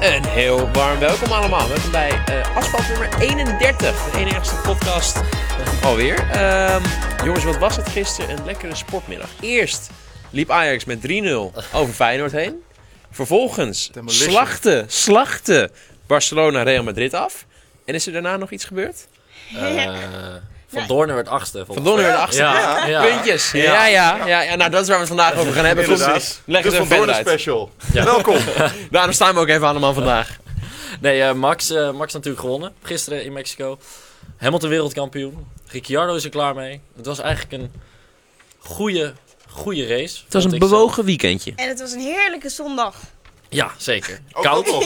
Een heel warm welkom allemaal. Welkom bij eh afstand nummer 31. De 31ste podcast Eh, alweer. Ehm, jongens, wat was het gisteren? Een lekkere sportmiddag. Eerst liep Ajax met 3-0 over Feyenoord heen. Vervolgens Demolition. slachten, slachten Barcelona Real Madrid af. En is er daarna nog iets gebeurd? Eh, Van Doornen werd achtste. Van Donner weer de achtste. Ja, ja. Puntjes. Ja. Ja, ja, ja, Nou, dat is waar we het vandaag over gaan hebben. Inderdaad. Leg de eens Van een verder Doornen uit. special. Welkom. Daarom staan we ook even allemaal vandaag. Nee, eh, Max, eh, Max natuurlijk gewonnen. Gisteren in Mexico. Hamilton wereldkampioen. Ricciardo is er klaar mee. Het was eigenlijk een goede, goede race. Het was een bewogen weekendje. En het was een heerlijke zondag. Ja, zeker. Ook koud. dat nog.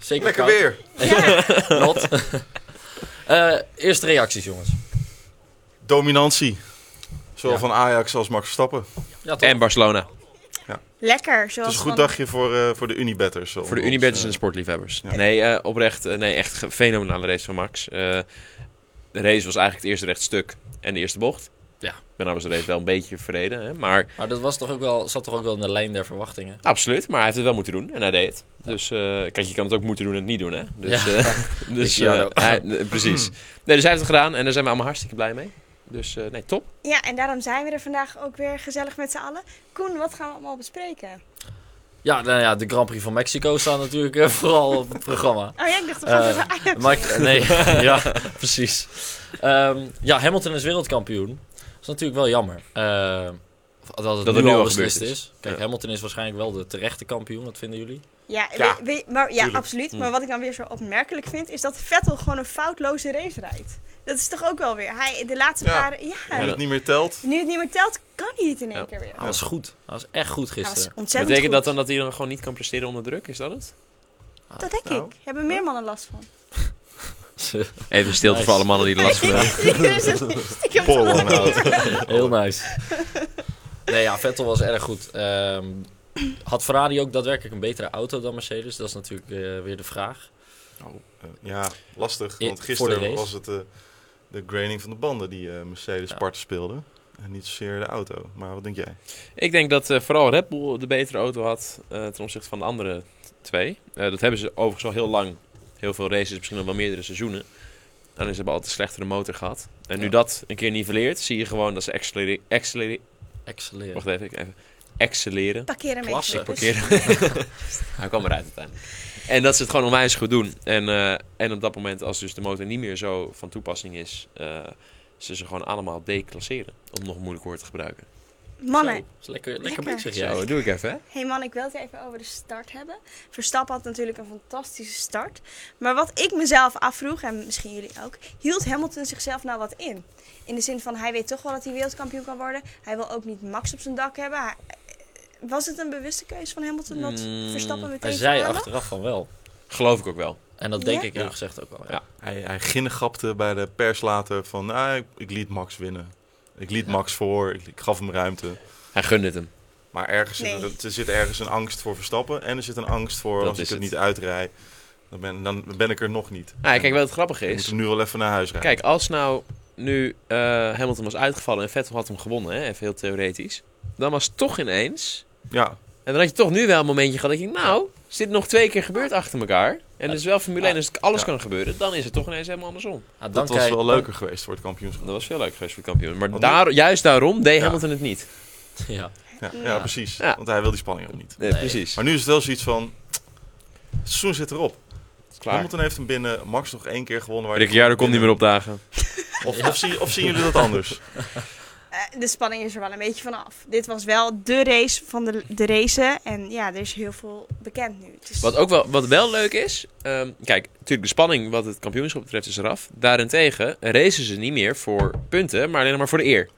Zeker Oh, Lekker koud. weer. Ja, Rot. Eh, eerste reacties, jongens. Dominantie. Zowel Ja. van Ajax als Max Verstappen. Ja, toch? En Barcelona. lekker. Het is Zoals een goed van- dagje voor, eh, voor de Unibetters. Voor de Unibeds en de sportliefhebbers. ja. Nee, eh, oprecht. eh, nee, echt ge- fenomenale race van Max. Eh, de race was eigenlijk het eerste rechtstuk en de eerste bocht. Ja. Daarna was de race wel een beetje verreden. Hè? Maar Maar dat was toch ook wel, zat toch ook wel in de lijn der verwachtingen. absoluut. Maar hij heeft het wel moeten doen. En hij deed het. Dus eh, kijk, je kan het ook moeten doen en niet doen. Hè? Dus, Ja. eh, dus eh, Ricciardo. hij- eh, precies. Nee, dus hij heeft het gedaan. En daar zijn we allemaal hartstikke blij mee. Dus eh, nee, top. Ja, en daarom zijn we er vandaag ook weer gezellig met z'n allen. Koen, wat gaan we allemaal bespreken? Ja, nou ja, de Grand Prix van Mexico staat natuurlijk eh, vooral op het programma. Oh ja, ik dacht dat Eh, we over Ajax Maar, nee, ja, precies. Ehm, ja, Hamilton is wereldkampioen. Dat is natuurlijk wel jammer. Ehm, dat het het nu, nu al al beslist is. gebeurd is. Kijk, Ja. Hamilton is waarschijnlijk wel de terechte kampioen. Wat vinden jullie? Ja, Ja, we- we- maar, ja tuurlijk. absoluut. Maar Mm. wat ik dan weer zo opmerkelijk vind, is dat Vettel gewoon een foutloze race rijdt. Dat is toch ook wel weer. Hij, de laatste Ja. paar... Ja, En eh, het niet meer telt. nu het niet meer telt, kan hij het in één Ja. keer weer. Hij was goed. Hij was echt goed Hij was gisteren. ontzettend Betekent dat goed. dan dat hij dan gewoon niet kan presteren onder druk? Is dat het? Dat denk Nou. ik. Hebben meer mannen last van. Even stilte Nice. voor alle mannen die de last van hebben. Stiekem Paul zo- Ronald. Heel nice. Nee, ja, Vettel was erg goed. Ehm, had Ferrari ook daadwerkelijk een betere auto dan Mercedes? Dat is natuurlijk eh, weer de vraag. Eh, Ja, lastig. I- Want voor de gisteren race. was het eh, de graining van de banden die eh, Mercedes Ja. parten speelde. En niet zozeer de auto. Maar wat denk jij? Ik denk dat eh, vooral Red Bull de betere auto had eh, ten opzichte van de andere twee. Eh, dat hebben ze overigens al heel lang. Heel veel races, misschien al wel meerdere seizoenen. En ze hebben altijd een slechtere motor gehad. En nu Ja. dat een keer niveleert, zie je gewoon dat ze accelereren. accelereren Excelleren. Wacht even, ik even. Accelereren. Parkeer een Klasse. beetje. Ik Parkeren. Hij kwam eruit uiteindelijk. En dat ze het gewoon onwijs goed doen. En, eh, en op dat moment, als dus de motor niet meer zo van toepassing is, eh, ze ze gewoon allemaal declasseren. Om nog een moeilijk woord te gebruiken. Mannen, Zo, is lekker, lekker, Lekker. bezig, jij. doe ik even, hè? Hey man, ik wil het even over de start hebben. Verstappen had natuurlijk een fantastische start. Maar wat ik mezelf afvroeg, en misschien jullie ook, hield Hamilton zichzelf nou wat in? In de zin van, hij weet toch wel dat hij wereldkampioen kan worden. Hij wil ook niet Max op zijn dak hebben. Hij- eh, was het een bewuste keuze van Hamilton dat Mm, Verstappen meteen Hij zei verhaalde? achteraf van wel. Geloof ik ook wel. En dat denk Ja? ik eerlijk Ja. gezegd ook wel. ja. Ja. Hij, hij ginnegapte bij de pers later van... Ah, ik, ik liet Max winnen. Ik liet Max voor. Ik, ik gaf hem ruimte. Hij gunde het hem. Maar ergens Nee. er, er zit ergens een angst voor verstappen. En er zit een angst voor Dat als ik is het het. niet uitrij. Dan ben, dan ben ik er nog niet. Nou, ja, kijk, wat het grappige Ik moet is. hem eh, nu wel even naar huis rijden. Kijk, als nou nu eh, Hamilton was uitgevallen en Vettel had hem gewonnen, hè, even heel theoretisch. Dan was het toch ineens. Ja, En dan had je toch nu wel een momentje gehad dat je, nou, is dit nog twee keer gebeurd achter elkaar. En dus wel Formule 1, als het alles Ja. kan gebeuren, dan is het toch ineens helemaal andersom. Ah, dan dat was krijg- wel dan- leuker geweest voor het kampioenschap. Dat was veel leuker geweest voor de kampioen. Maar Want daar, juist daarom deed Ja. Hamilton het niet. Ja. Ja, ja, Ja. precies. Ja. Want hij wil die spanning ook niet. Nee, Nee. precies. Maar nu is het wel zoiets van... Het seizoen zit erop. Klaar. Hamilton heeft hem binnen. Max nog één keer gewonnen. waar hij- Ricciardo komt niet meer opdagen. Of, of, zien, of zien jullie dat anders? Eh, de spanning is er wel een beetje vanaf. Dit was wel de race van de, de race. En ja, er is heel veel bekend nu. Het is- Wat ook wel, wat wel leuk is, ehm, kijk, natuurlijk de spanning wat het kampioenschap betreft is eraf. Daarentegen racen ze niet meer voor punten, maar alleen maar voor de eer.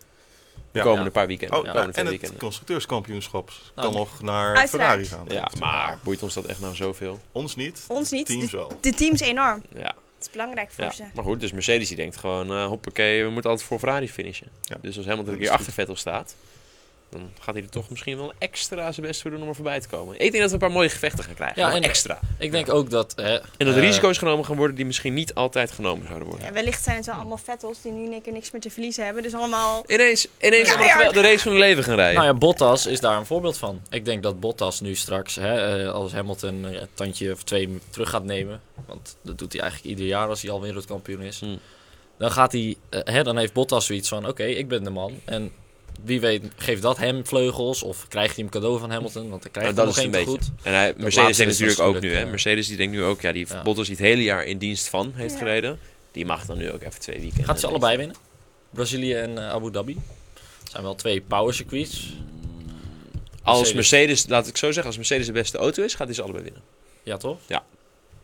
De Ja. komende Ja. paar weekenden. Oh, de ja, komende en twee het weekenden. constructeurskampioenschap kan Nou, nog naar Uiteraard. Ferrari gaan. Ja, maar boeit ons dat echt nou zoveel? Ons niet. Ons niet. Teams De, wel. de teams enorm. Ja, Het is belangrijk voor ja. ze. maar goed, dus Mercedes die denkt gewoon, eh hoppakee, we moeten altijd voor Ferrari finishen. Ja. Dus als helemaal Dat een is keer goed. achter Vettel staat, Dan gaat hij er toch misschien wel extra zijn best voor doen om er voorbij te komen. Ik denk dat we een paar mooie gevechten gaan krijgen. Ja, maar en- extra. Ik denk ook dat... Hè, En dat er eh, risico's genomen gaan worden die misschien niet altijd genomen zouden worden. Ja, wellicht zijn het wel allemaal vettels die nu in één keer niks meer te verliezen hebben. Dus allemaal... Ineens, ineens Ja, allemaal ja. gewel- de race van hun leven gaan rijden. Nou ja, Bottas is daar een voorbeeld van. Ik denk dat Bottas nu straks, hè, eh, als Hamilton eh, een tandje of twee terug gaat nemen... want dat doet hij eigenlijk ieder jaar als hij al wereldkampioen is... Hmm. dan, gaat hij, eh, hè, dan heeft Bottas zoiets van, oké, ik ben de man... En wie weet geeft dat hem vleugels of krijgt hij een cadeau van Hamilton... want dan Nou, krijgt dat hij nog is het geen een te beetje. goed. En hij, Mercedes laatste denkt is natuurlijk ook nu, natuurlijk, hè. ja. Mercedes die denkt nu ook, ja, die heeft Ja. Bottas die het hele jaar in dienst van heeft Ja. gereden. Die mag dan nu ook even twee weekenden. Gaat ze allebei winnen? Brazilië en eh, Abu Dhabi. Dat zijn wel twee power circuits. Als Mercedes. Mercedes, laat ik zo zeggen, als Mercedes de beste auto is, gaat hij ze allebei winnen. Ja, toch?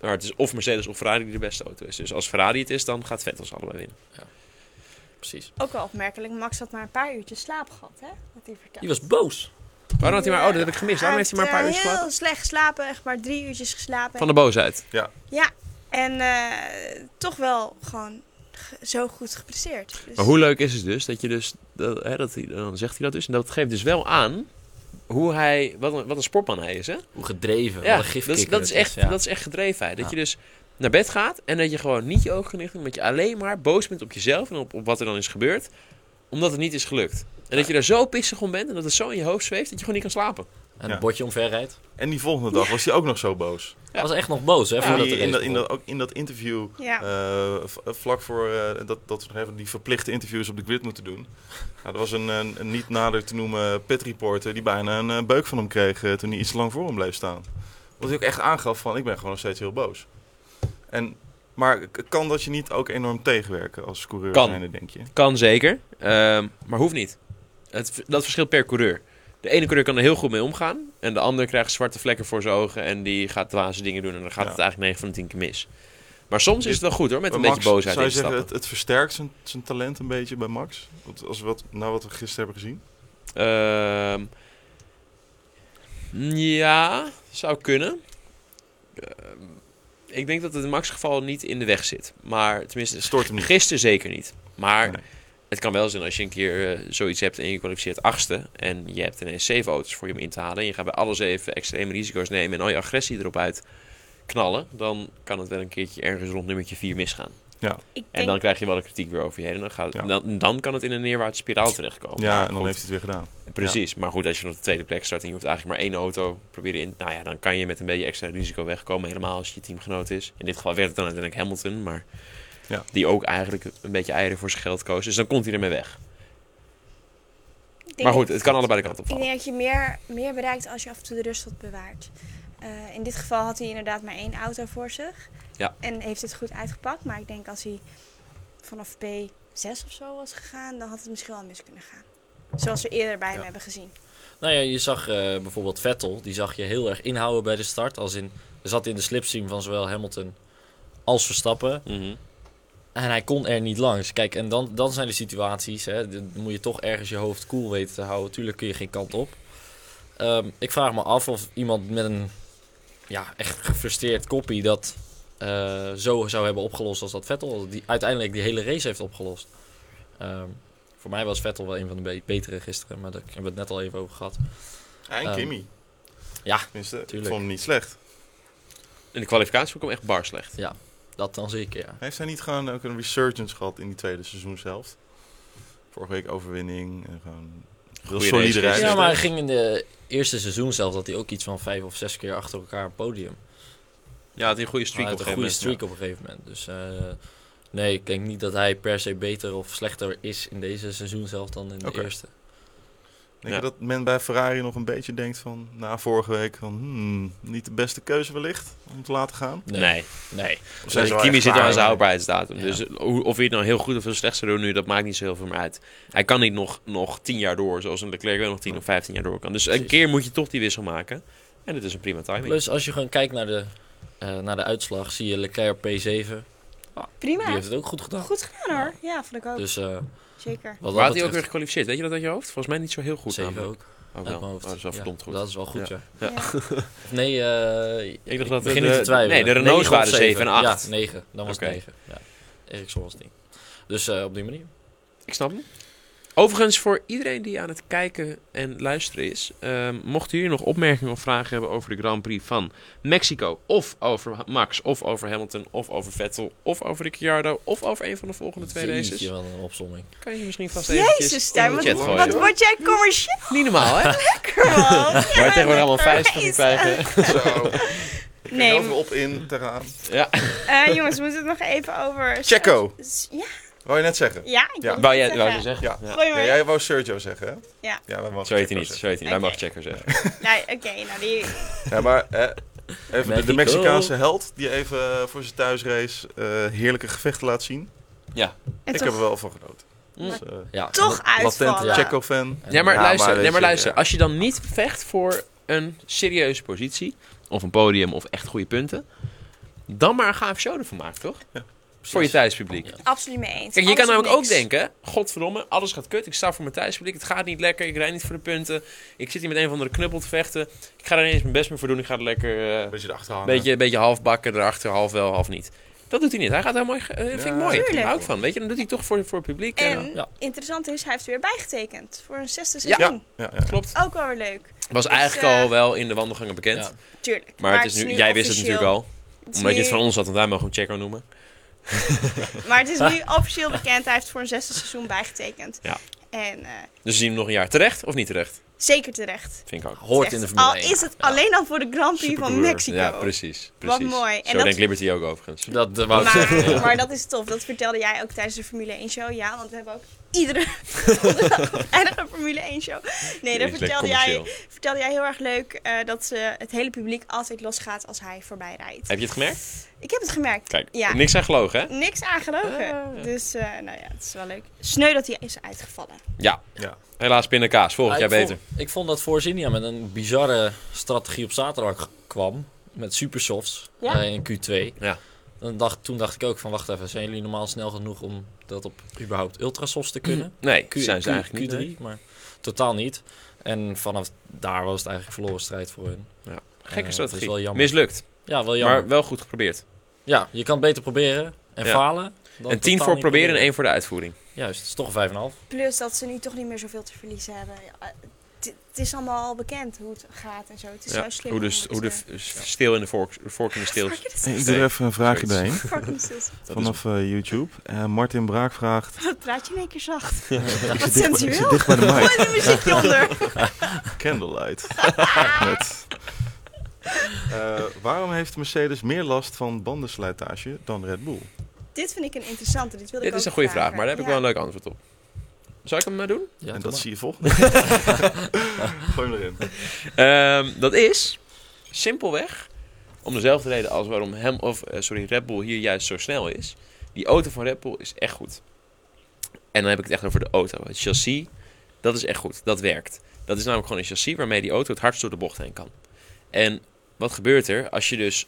Maar het is of Mercedes of Ferrari die de beste auto is. Dus als Ferrari het is, dan gaat Vettel ze allebei winnen. Precies. Ook wel opmerkelijk, Max had maar een paar uurtjes slaap gehad, hè? Wat hij vertelde. Die was boos. Waarom had hij maar... Oh, dat heb ik gemist. Waarom heeft hij maar een paar uur Hij heeft, eh, geslapen? heel slecht geslapen, echt maar drie uurtjes geslapen. Van de Dus boosheid. Ja, en eh, toch wel gewoon ge- zo goed gepresteerd. Dus- Maar hoe leuk is het dus dat je dus... Dat, hè, dat hij, dan zegt hij dat dus. En dat geeft dus wel aan hoe hij... Wat een, wat een sportman hij is, hè? Hoe gedreven. Ja, wat een dat gifkikker is, dat, is het echt, ja. dat is echt gedrevenheid. Dat Ja. je dus naar bed gaat en dat je gewoon niet je ogen genicht doet. Dat je alleen maar boos bent op jezelf en op, op wat er dan is gebeurd. Omdat het niet is gelukt. En dat je daar zo pissig om bent en dat het zo in je hoofd zweeft dat je gewoon niet kan slapen. En Ja. het bordje omver rijdt. En die volgende dag was hij ook nog zo boos. Ja. was echt nog boos, hè? in, voordat die- de in, dat, race in, begon. dat, ook in dat interview, Dus, Ja. eh, v- vlak voor eh, dat, dat we nog even die verplichte interviews op de grid moeten doen. Nou, er was een, een, een niet nader te noemen pit reporter die bijna een eh, beuk van hem kreeg eh, toen hij iets te lang voor hem bleef staan. Wat hij ook echt aangaf van, ik ben gewoon nog steeds heel boos. En, maar k- kan dat je niet ook enorm tegenwerken als coureur Kan. zijnde, denk je? Kan zeker, ehm, maar hoeft niet. Het, dat verschilt per coureur. De ene coureur kan er heel goed mee omgaan. En de ander krijgt zwarte vlekken voor zijn ogen. En die gaat dwaze dingen doen. En dan gaat Ja. het eigenlijk 9 van de 10 keer mis. Maar soms is het wel goed hoor, met een Bij beetje Max, boosheid Zou in je te stappen. zeggen, het, het versterkt zijn, zijn talent een beetje bij Max? Want Als we wat, nou wat we gisteren hebben gezien. Ehm, ja, zou kunnen. Ehm, ik denk dat het in Max geval niet in de weg zit. Maar tenminste, Het stoort hem niet. gisteren zeker niet. Maar Nee. het kan wel zijn als je een keer eh, zoiets hebt en je kwalificeert achtste. En je hebt ineens zeven auto's voor je om in te halen. En je gaat bij alle zeven extreme risico's nemen en al je agressie erop uit knallen. Dan kan het wel een keertje ergens rond nummertje vier misgaan. ik En dan krijg je wel de kritiek weer over je heen. En dan, gaat, Ja. dan, dan kan het in een neerwaartse spiraal terechtkomen. Ja, en dan Goed. heeft hij het weer gedaan. Precies, maar goed, als je op de tweede plek start en je hoeft eigenlijk maar één auto proberen in. Nou ja, dan kan je met een beetje extra risico wegkomen, helemaal als je teamgenoot is. In dit geval werd het dan uiteindelijk Hamilton, maar Ja. die ook eigenlijk een beetje eieren voor zijn geld koos. Dus dan komt hij ermee weg. ik denk maar goed, dat- het kan allebei de kant op Ik vallen. denk dat je meer, meer bereikt als je af en toe de rust wat bewaart. Eh, in dit geval had hij inderdaad maar één auto voor zich. Ja. En heeft het goed uitgepakt. Maar ik denk als hij vanaf P6 of zo was gegaan, dan had het misschien wel mis kunnen gaan. Zoals we eerder bij hem hebben gezien. Nou ja, je zag eh, bijvoorbeeld Vettel. Die zag je heel erg inhouden bij de start. Als in, er zat in de slipstream van zowel Hamilton als Verstappen. Mhm. En hij kon er niet langs. Kijk, en dan, dan zijn de situaties. Hè, dan moet je toch ergens je hoofd koel weten te houden. Tuurlijk kun je geen kant op. Ehm, ik vraag me af of iemand met een ja, echt gefrustreerd koppie dat eh, zo zou hebben opgelost als dat Vettel. Die uiteindelijk die hele race heeft opgelost. Ehm, voor mij was Vettel wel een van de be- betere gisteren. Maar daar hebben we het net al even over gehad. En Ehm, Kimmy. ja, Tenminste, ik tuurlijk. vond hem niet slecht. In de kwalificatie vond ik hem echt bar slecht. Dat dan zeker, ja. Heeft hij niet gewoon ook een resurgence gehad in die tweede seizoen zelf? Vorige week overwinning en gewoon heel Goeie solide race. rijden. Ja, maar hij ging in de eerste seizoen zelf dat hij ook iets van vijf of zes keer achter elkaar een podium. Ja, had hij een goede Hij streak had op een een goede gegeven streak moment. op een gegeven moment. Dus eh, nee, ik denk niet dat hij per se beter of slechter is in deze seizoen zelf dan in de Oké. eerste. Denk Ja. je dat men bij Ferrari nog een beetje denkt van na vorige week van hmm, niet de beste keuze wellicht om te laten gaan? Ja. Nee, Nee. Of nee. zijn ze wel Kimi echt zit klaar er aan zijn mee? houdbaarheidsdatum. Ja. Dus hoe- of hij het nou heel goed of heel slecht zou doen nu, dat maakt niet zo heel veel meer uit. Hij kan niet nog, nog tien jaar door, zoals een Leclerc wel nog tien of vijftien jaar door kan. Dus een Precies. keer moet je toch die wissel maken. En dit is een prima timing. Plus als je gewoon kijkt naar de, eh, naar de uitslag, zie je Leclerc P7. Die Prima. heeft het ook goed gedaan. Goed gedaan hoor. Ja, vond ik ook. Dus eh, Zeker. wat Waar had dat hij ook weer betreft, gekwalificeerd? Weet je dat uit je hoofd? Volgens mij niet zo heel goed. zeven namelijk. ook. Oh, uit wel. mijn hoofd. Oh, dat is wel Ja, verdomd goed. Dat is wel goed, ja. Ja. Of Nee, eh, Ik dacht dat begin de- niet te twijfelen. nee, de Renaults Negen of waren zeven en acht. Ja, 9. Dan was het Oké. 9. Ja. Ericsson was 10. Dus eh, op die manier. Ik snap hem. Overigens, voor iedereen die aan het kijken en luisteren is, ehm, mochten jullie nog opmerkingen of vragen hebben over de Grand Prix van Mexico, of over Max, of over Hamilton, of over Vettel, of over Ricciardo, of over een van de volgende twee Jeetje, races, wat een opzomming. kan je misschien vast eventjes Jezus, in Stijn, de wat, chat wat, gooien. hoor. word jij commercieel, Niet normaal, hè? man. Waar Waar je tegenwoordig allemaal vijf van kunt krijgen. Zo. Nee, Over op in, teraan. Ja. eh, jongens, we moeten het nog even over... Checo. S- Ja, Wou je net zeggen? ja, ik Ja. wil Wou het jij wou je zeggen. zeggen? Ja. Ja. Gooi Ja, maar. jij wou Sergio zeggen, hè? Ja. Ja, wij mogen Zo heet hij Checo niet, zeggen. zo heet hij niet. Wij Oké. mag checker zeggen. Nou, oké, nou die... Ja, maar eh, even de- de Mexico. Mexicaanse held die even eh, voor zijn thuisrace eh, heerlijke gevechten laat zien. En ik toch, heb er wel van genoten. Dus, eh, Ja, toch en- uitvallen. ja. Checo-fan. en- Ja, maar Ja, luister, maar nee, maar weet je, luister. ja. als je dan niet vecht voor een serieuze positie, of een podium, of echt goede punten, dan maar een gaaf show ervan maken, toch? Voor je thuispubliek. Ja. Absoluut mee eens. Kijk, je kan Alles of namelijk ook niks. denken, godverdomme, alles gaat kut. Ik sta voor mijn thuispubliek, het gaat niet lekker, ik rijd niet voor de punten. Ik zit hier met een van de knuppel te vechten. Ik ga er ineens mijn best meer voor doen, ik ga er lekker eh, Beetje erachter hangen. beetje, beetje half bakken erachter, half wel, half niet. Dat doet hij niet. Hij gaat heel mooi. ge- eh, vind ik Ja. mooi. Daar Tuurlijk. hou ik van. Weet je, dan doet hij toch voor, voor het publiek. eh, En Ja. interessant is, hij heeft weer bijgetekend voor een zesde Ja. Ja, seizoen. ja, ja. klopt. Ook wel weer leuk. Was Dus, eigenlijk eh, al wel in de wandelgangen bekend. Ja. Tuurlijk. Maar, het is nu, jij wist het natuurlijk al. Omdat je het van ons had, want wij mogen hem Checo noemen. Maar het is nu officieel bekend. Hij heeft voor een zesde seizoen bijgetekend. Ja. En eh, Dus we zien hem nog een jaar. Terecht of niet terecht? zeker terecht. Vind ik ook. Hoort in Terecht. de Formule al 1. is het alleen al voor de Grand Prix van Supercoureur. Mexico. Ja, precies. Wat precies. mooi. En Zo dat- denkt Liberty ook overigens. Dat eh, wou ik zeggen. Maar, ja. maar dat is tof. Dat vertelde jij ook tijdens de Formule 1 show. Ja, want we hebben ook iedere vrijdag een Formule 1 show. Nee, dat Is lekker vertelde jij, commercieel. vertelde jij heel erg leuk eh, dat ze het hele publiek altijd losgaat als hij voorbij rijdt. Heb je het gemerkt? Ik heb het gemerkt. Kijk, Ja. niks aan gelogen, hè? Niks aangelogen. Dus eh, nou ja, het is wel leuk. Sneu dat hij is uitgevallen. Ja. Ja. Helaas pindakaas. Volgend Ja, jaar Ah, ik beter. Vond, ik vond dat Forzinia met een bizarre strategie op zaterdag kwam. Met supersofts Ja. eh, in Q2. Ja. Dan dacht, toen dacht ik ook van, wacht even, zijn jullie normaal snel genoeg om dat op überhaupt ultrasofts te kunnen? Hm, Nee, Q, zijn ze Q- eigenlijk niet. Q3, nee. maar totaal niet. En vanaf daar was het eigenlijk verloren strijd voor hun. Eh, Gekke dat strategie. is wel jammer. Mislukt. Ja, wel jammer. Maar wel goed geprobeerd. Ja, je kan het beter proberen en Ja. falen. Dan Een 10 totaal voor niet proberen en 1 voor de uitvoering. Juist, het is toch een 5,5. Plus dat ze nu toch niet meer zoveel te verliezen hebben. Ja, het- Het is allemaal al bekend hoe het gaat en zo. Het is Ja, zo slim. Hoe de, om s- het, hoe de eh, f- s- steel in de vork, de vork in de steel. fuck, dit Ik is- doe er even een vraagje Zoiets. doorheen fucking stil. Dat is- vanaf eh, YouTube. Eh, Martin Braak vraagt... Wat praat je in één keer zacht? Ik Wat zit dicht bij- ik zit sensueel. dicht bij de mic. Gooi de muziekje onder. Candlelight. Met. Eh, waarom heeft Mercedes meer last van bandenslijtage dan Red Bull? Dit vind ik een interessante. Dit wil ik Dit is ook een goede vraag, vragen. maar daar heb ik wel Ja. een leuk antwoord op. Zal ik hem maar doen? en Ja, doe dat maar. zie je volgende. Gooi hem erin. Ehm, dat is simpelweg om dezelfde reden als waarom hem, of, eh, sorry, Red Bull hier juist zo snel is. Die auto van Red Bull is echt goed. En dan heb ik het echt over de auto. Het chassis, dat is echt goed. Dat werkt. Dat is namelijk gewoon een chassis waarmee die auto het hardst door de bocht heen kan. En wat gebeurt er als je dus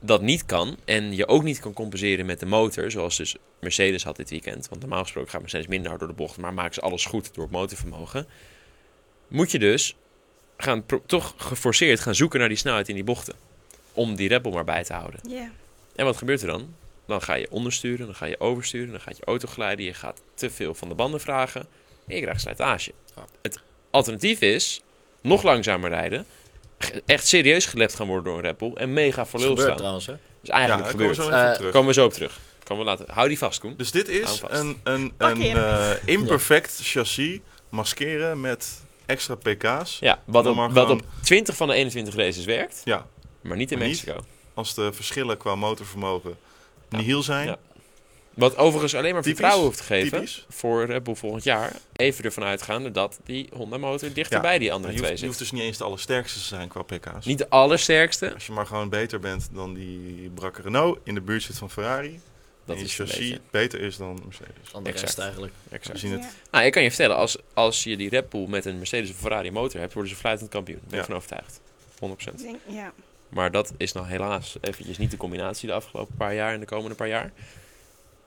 dat niet kan en je ook niet kan compenseren met de motor, zoals dus Mercedes had dit weekend. Want normaal gesproken gaat Mercedes minder hard door de bocht, maar maken ze alles goed door het motorvermogen. Moet je dus gaan pro- toch geforceerd gaan zoeken naar die snelheid in die bochten. Om die rebel maar bij te houden. Ja. En wat gebeurt er dan? Dan ga je ondersturen, dan ga je oversturen, dan gaat je auto glijden. Je gaat te veel van de banden vragen. En je krijgt slijtage. Ja. Het alternatief is nog langzamer rijden. ge- Echt serieus gelept gaan worden door een Red Bull En mega voor Dat lul gebeurt staan. trouwens, hè. is Ja, eigenlijk daar komen we gebeurd. Daar zo even Eh, op terug. Komen we zo op terug. Komen we later. Hou die vast, Koen. Dus dit Hou is vast. een, een, Pak een je eh, imperfect chassis maskeren met extra pk's. Ja, wat Dan op, maar wat gewoon- op 20 van de 21 races werkt, Ja, maar niet in Maar niet. Mexico. als de verschillen qua motorvermogen Ja. nihil zijn. Ja. Wat overigens alleen maar Typisch. vertrouwen hoeft te geven Typisch. voor Red Bull volgend jaar. Even ervan uitgaande dat die Honda motor dichter Ja, bij die andere Je, twee hoeft, je zit. hoeft dus niet eens de allersterkste te zijn qua pk's. Niet de allersterkste. Als je maar gewoon beter bent dan die brakke Renault in de buurt zit van Ferrari. Dat en je is een chassis beetje. beter is dan Mercedes. Andere Exact. rest eigenlijk. We Exact. zien het. Ja. Nou, ik kan je vertellen, als, als je die Red Bull met een Mercedes of Ferrari motor hebt, worden ze fluitend kampioen. Daar ben ik Ja. van overtuigd. 100%. Ik denk- Ja. Maar dat is nou helaas eventjes niet de combinatie de afgelopen paar jaar en de komende paar jaar.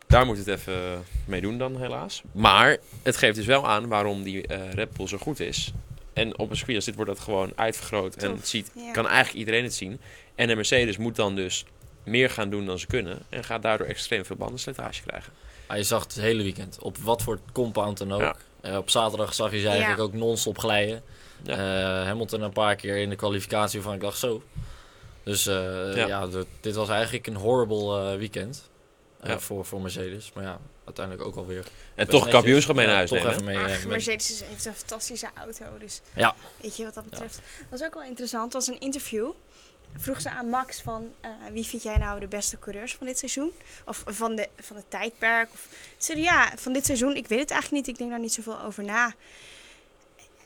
Daar moet het even mee doen dan, helaas. Maar het geeft dus wel aan waarom die eh Red Bull zo goed is. En op een circuit als dit wordt dat gewoon uitvergroot. En Tof, het ziet, ja. kan eigenlijk iedereen het zien. En de Mercedes moet dan dus meer gaan doen dan ze kunnen. En gaat daardoor extreem veel bandenslijtage krijgen. Maar Ah, je zag het hele weekend. Op wat voor compound dan ook. Ja. Eh, op zaterdag zag je ze eigenlijk ook non-stop glijden. Ja. Eh, Hamilton een paar keer in de kwalificatie waarvan ik dacht zo. Dus eh, Ja. ja, d- dit was eigenlijk een horrible eh, weekend eh, Ja. voor, voor Mercedes. Maar ja, uiteindelijk ook alweer. En toch een kampioenschap mee naar huis Toch nemen. even mee. Ach, eh, met- Mercedes is- heeft een fantastische auto, dus Ja. weet je wat dat betreft. Dat was ook wel interessant, dat was een interview. Vroeg ze aan Max van eh, wie vind jij nou de beste coureurs van dit seizoen? Of van, de, van het tijdperk? Of, ze zei ja, van dit seizoen, ik weet het eigenlijk niet, ik denk daar niet zoveel over na.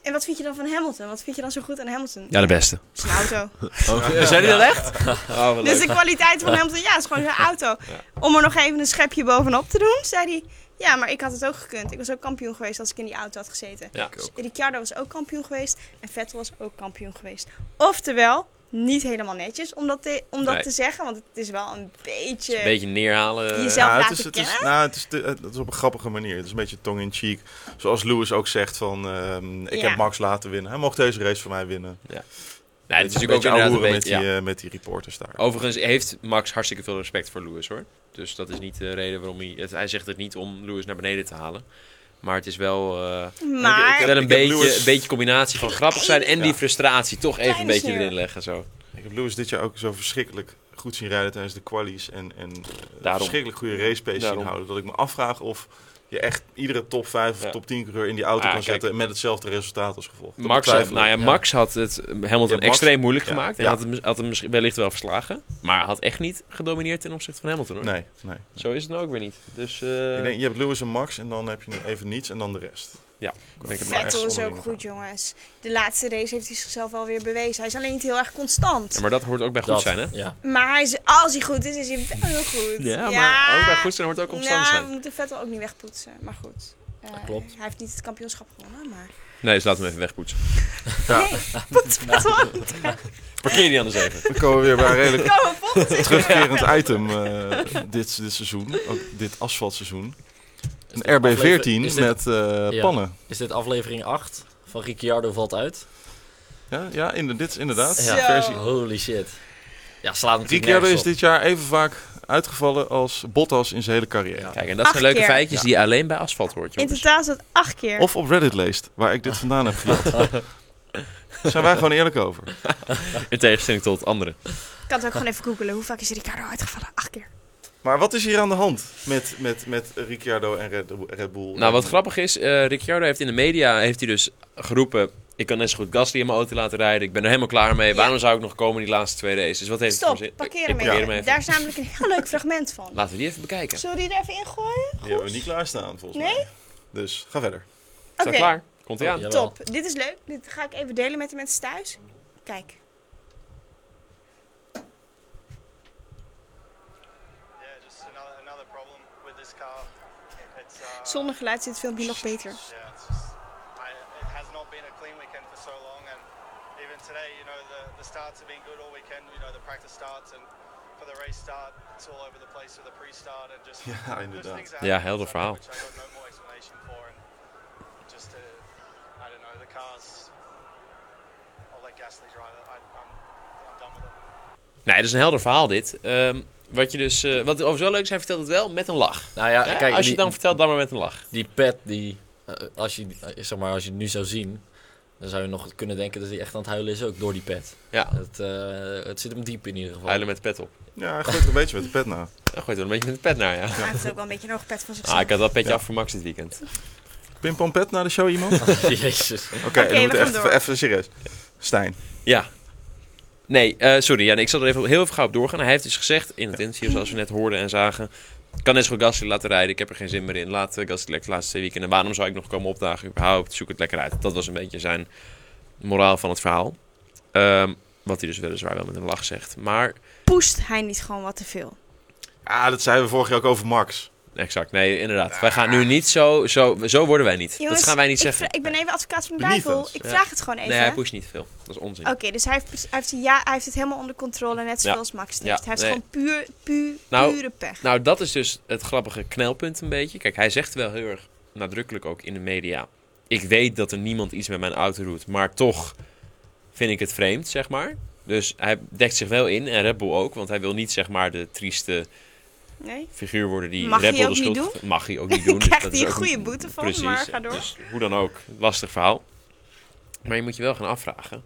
En wat vind je dan van Hamilton? Wat vind je dan zo goed aan Hamilton? Ja, de beste. Zijn auto. Zijn die dat echt? Oh, wat Dus leuk. de kwaliteit van Hamilton, ja, het is gewoon zijn auto. Om er nog even een schepje bovenop te doen, zei hij... Ja, maar ik had het ook gekund. Ik was ook kampioen geweest als ik in die auto had gezeten. Ja. Dus Ricciardo was ook kampioen geweest en Vettel was ook kampioen geweest. Oftewel, niet helemaal netjes om dat te, om dat Nee. te zeggen, want het is wel een Het is beetje... Een beetje neerhalen. Jezelf Ja, het laten is, het is, kennen? nou, het is, te- het is op een grappige manier. Het is een beetje tong in cheek. Zoals Lewis ook zegt van, ehm, ik Ja. heb Max laten winnen. Hij mocht deze race voor mij winnen. Nee, het is Beetje- natuurlijk ook beetje inderdaad een ouwehoeren beetje... ja. met, Oh. die, eh, met die reporters daar. Overigens heeft Max hartstikke veel respect voor Lewis hoor. Dus dat is niet de reden waarom hij... Het, hij zegt het niet om Lewis naar beneden te halen. Maar het is wel... eh, Maar wel een ik heb beetje, Lewis- een beetje combinatie van grappig zijn en die Ja. frustratie toch even een Kleine beetje sneur. erin leggen. Zo. Ik heb Lewis dit jaar ook zo verschrikkelijk goed zien rijden tijdens de qualies. En, en eh, Daarom. verschrikkelijk goede race pace zien Daarom. houden. Dat ik me afvraag of je echt iedere top 5 of Ja. top 10 coureur in die auto Ah, kan kijk. zetten. Met hetzelfde resultaat als gevolg. Dat Max, had, betwijfel ik. nou ja, ja. Max had het Hamilton Max- extreem moeilijk ja. gemaakt. En Ja. had, hem, had hem misschien wellicht wel verslagen. Maar had echt niet gedomineerd ten opzichte van Hamilton hoor. Nee, nee. Zo is het nou ook weer niet. Dus eh, Ik denk, je hebt Lewis en Max en dan heb je even niets en dan de rest. ik denk het maar. echt Vettel is ook zonderling. goed, jongens. De laatste race heeft hij zichzelf wel weer bewezen. Hij is alleen niet heel erg constant. Ja, maar dat hoort ook bij goed dat- zijn hè? Ja. Maar hij is, als hij goed is, is hij wel heel goed. Ja, maar ook bij goed zijn hoort ook constant Ja, we zijn. moeten Vettel ook niet wegpoetsen, maar goed. Eh, Dat klopt. Hij heeft niet het kampioenschap gewonnen, maar... Nee, dus laten we hem even wegpoetsen. Nee, poets Vettel aan. Dan Parkeer die aan de zeven. Dan komen we weer bij een redelijk komen we volgend seizoen. terugkerend item eh, dit, dit seizoen. Ook dit asfaltseizoen. Is dit Een RB14 aflever- is dit- met eh, Ja. pannen. Is dit aflevering 8 van Ricciardo valt uit? Ja, ja in de, dit is inderdaad. Zo. Versie. Holy shit. Ja, slaat natuurlijk Ricciardo is nergens op. dit jaar even vaak uitgevallen als Bottas in zijn hele carrière. Ja. Kijk, en dat zijn Acht leuke keer. feitjes die je alleen bij asfalt hoort, In jongens. totaal is dat acht keer. Of op Reddit leest, waar ik dit vandaan heb gejat. Zijn wij gewoon eerlijk over. In tegenstelling tot anderen. Ik kan het ook gewoon even googelen. Hoe vaak is Ricardo uitgevallen? Acht keer. Maar wat is hier aan de hand met, met, met Ricciardo en Red, Red Bull? Nou, wat grappig is, eh Ricciardo heeft in de media heeft hij dus geroepen... Ik kan net zo goed Gasly in mijn auto laten rijden. Ik ben er helemaal klaar mee. Ja. Waarom zou ik nog komen in die laatste twee races? Dus wat heeft het voor Stop, zin? parkeer Ik hem parkeer even. hem even. Daar is namelijk een heel leuk fragment van. Laten we die even bekijken. Zullen we die er even in gooien? Die hebben we niet klaarstaan, volgens Nee? mij. Dus ga verder. Is dat Oké. klaar? Komt hij aan. Ja. Jawel. Top, dit is leuk. Dit ga ik even delen met de mensen thuis. Kijk. Yeah, just another another problem with this car. It's uh, Zonder geluid zit het filmpje nog beter. yeah, it's just, I, it has not been a clean weekend for so long, and even today, you know, the, the starts have been good all weekend. You know, the practice starts and for the race start, it's all over the place with the pre-start and just Ja, just inderdaad. things Ja, are happening helder inside verhaal. which I got no more explanation for, and just uh, I don't know the cars. I'll let Gasly drive it. I, I'm, I'm done with it. Nee, dat is een helder verhaal dit. Ehm, wat je dus... eh, wat overigens wel leuk is, hij vertelt het wel met een lach. Nou ja, Hè? kijk, als je die, het dan vertelt, dan maar met een lach. die pet die, eh, als, je, eh, zeg maar, als je het nu zou zien, dan zou je nog kunnen denken dat hij echt aan het huilen is ook door die pet. Ja, Het, eh, het zit hem diep in ieder geval. huilen met de pet op. Ja, hij gooit er een beetje met de pet na. Dan gooit er een beetje met de pet naar, ja. Hij heeft ook wel een beetje een hoog pet van Ah, zichzelf. ik had dat petje Ja. af voor Max dit weekend. Pimpom pet naar de show, iemand? Oké, Jezus. Oké, we we moeten gaan even, door. even serieus. Stijn. Ja. Nee, eh, sorry. Ja, nee, ik zal er even heel even gauw op doorgaan. Hij heeft dus gezegd in het interview, zoals we net hoorden en zagen... "Ik kan net zo goed Gasly laten rijden. Ik heb er geen zin meer in. Laat eh, Gasly lekker de laatste twee weekenden. Waarom zou ik nog komen opdagen? Überhaupt, zoek het lekker uit. Dat was een beetje zijn moraal van het verhaal. Ehm, wat hij dus weliswaar wel met een lach zegt. Maar, Poest hij niet gewoon wat te veel? Ah, dat zeiden we vorig jaar ook over Max. exact. Nee, inderdaad. Wij gaan nu niet zo... Zo, zo worden wij niet. Jongens, dat gaan wij niet ik zeggen. vra- Ik ben even advocaat van de Benieuwd duivel. ons. Ik Ja. vraag het gewoon even. Nee, hij pusht niet veel. Dat is onzin. Oké, dus hij heeft, hij, heeft, ja, hij heeft het helemaal onder controle, net zoals Max het Ja, heeft. Hij heeft nee. gewoon puur, puur, Nou, pure pech. Nou, dat is dus het grappige knelpunt een beetje. Kijk, hij zegt wel heel erg nadrukkelijk ook in de media. Ik weet dat er niemand iets met mijn auto doet, maar toch vind ik het vreemd, zeg maar. Dus hij dekt zich wel in, en Red Bull ook, want hij wil niet zeg maar de trieste Nee? figuur worden die Mag Red je Bull de ook niet schuld... Mag je ook niet doen. dus Krijgt dat hij is een ook goede boete van, Precies. maar ga door. Dus hoe dan ook, lastig verhaal. Maar je moet je wel gaan afvragen...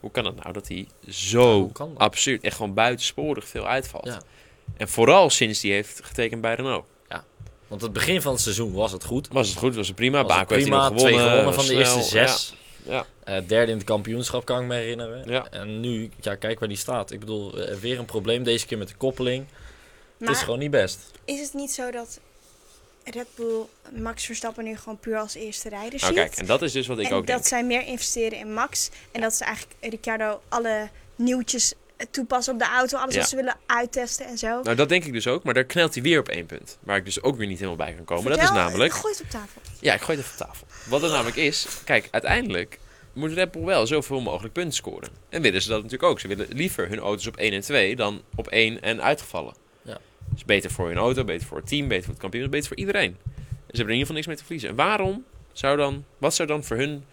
Hoe kan het nou dat hij Ja, zo hoe kan dat? absurd, echt gewoon buitensporig veel uitvalt? Ja. En vooral sinds hij heeft getekend bij Renault. Want het begin van het seizoen was het goed. Was het goed, was het prima. Was het Baku heeft hij prima, nog gewonnen. twee gewonnen was van de snel. eerste zes. Ja, ja. Eh, derde in het kampioenschap kan ik me herinneren. Ja. En nu, ja, kijk waar die staat. Ik bedoel, eh, weer een probleem deze keer met de koppeling. Maar het is gewoon niet best. is het niet zo dat Red Bull Max Verstappen nu gewoon puur als eerste rijder Nou ziet? kijk, en dat is dus wat ik en ook dat denk. zij meer investeren in Max. En dat ze eigenlijk Ricciardo alle nieuwtjes eh, toepassen op de auto. Alles Ja. wat ze willen uittesten en zo. Nou, dat denk ik dus ook, maar daar knelt hij weer op één punt. Waar ik dus ook weer niet helemaal bij kan komen. dat is Vertel, namelijk. Gooi het op tafel. Ja, ik gooi het even op tafel. Wat het namelijk is, kijk, uiteindelijk moet Red Bull wel zoveel mogelijk punten scoren. En willen ze dat natuurlijk ook. Ze willen liever hun auto's op 1 en 2 dan op 1 en uitgevallen. Ja. Dat is beter voor hun auto, beter voor het team, beter voor het kampioen, beter voor iedereen. En ze hebben er in ieder geval niks mee te verliezen. En waarom zou dan, wat zou dan voor hun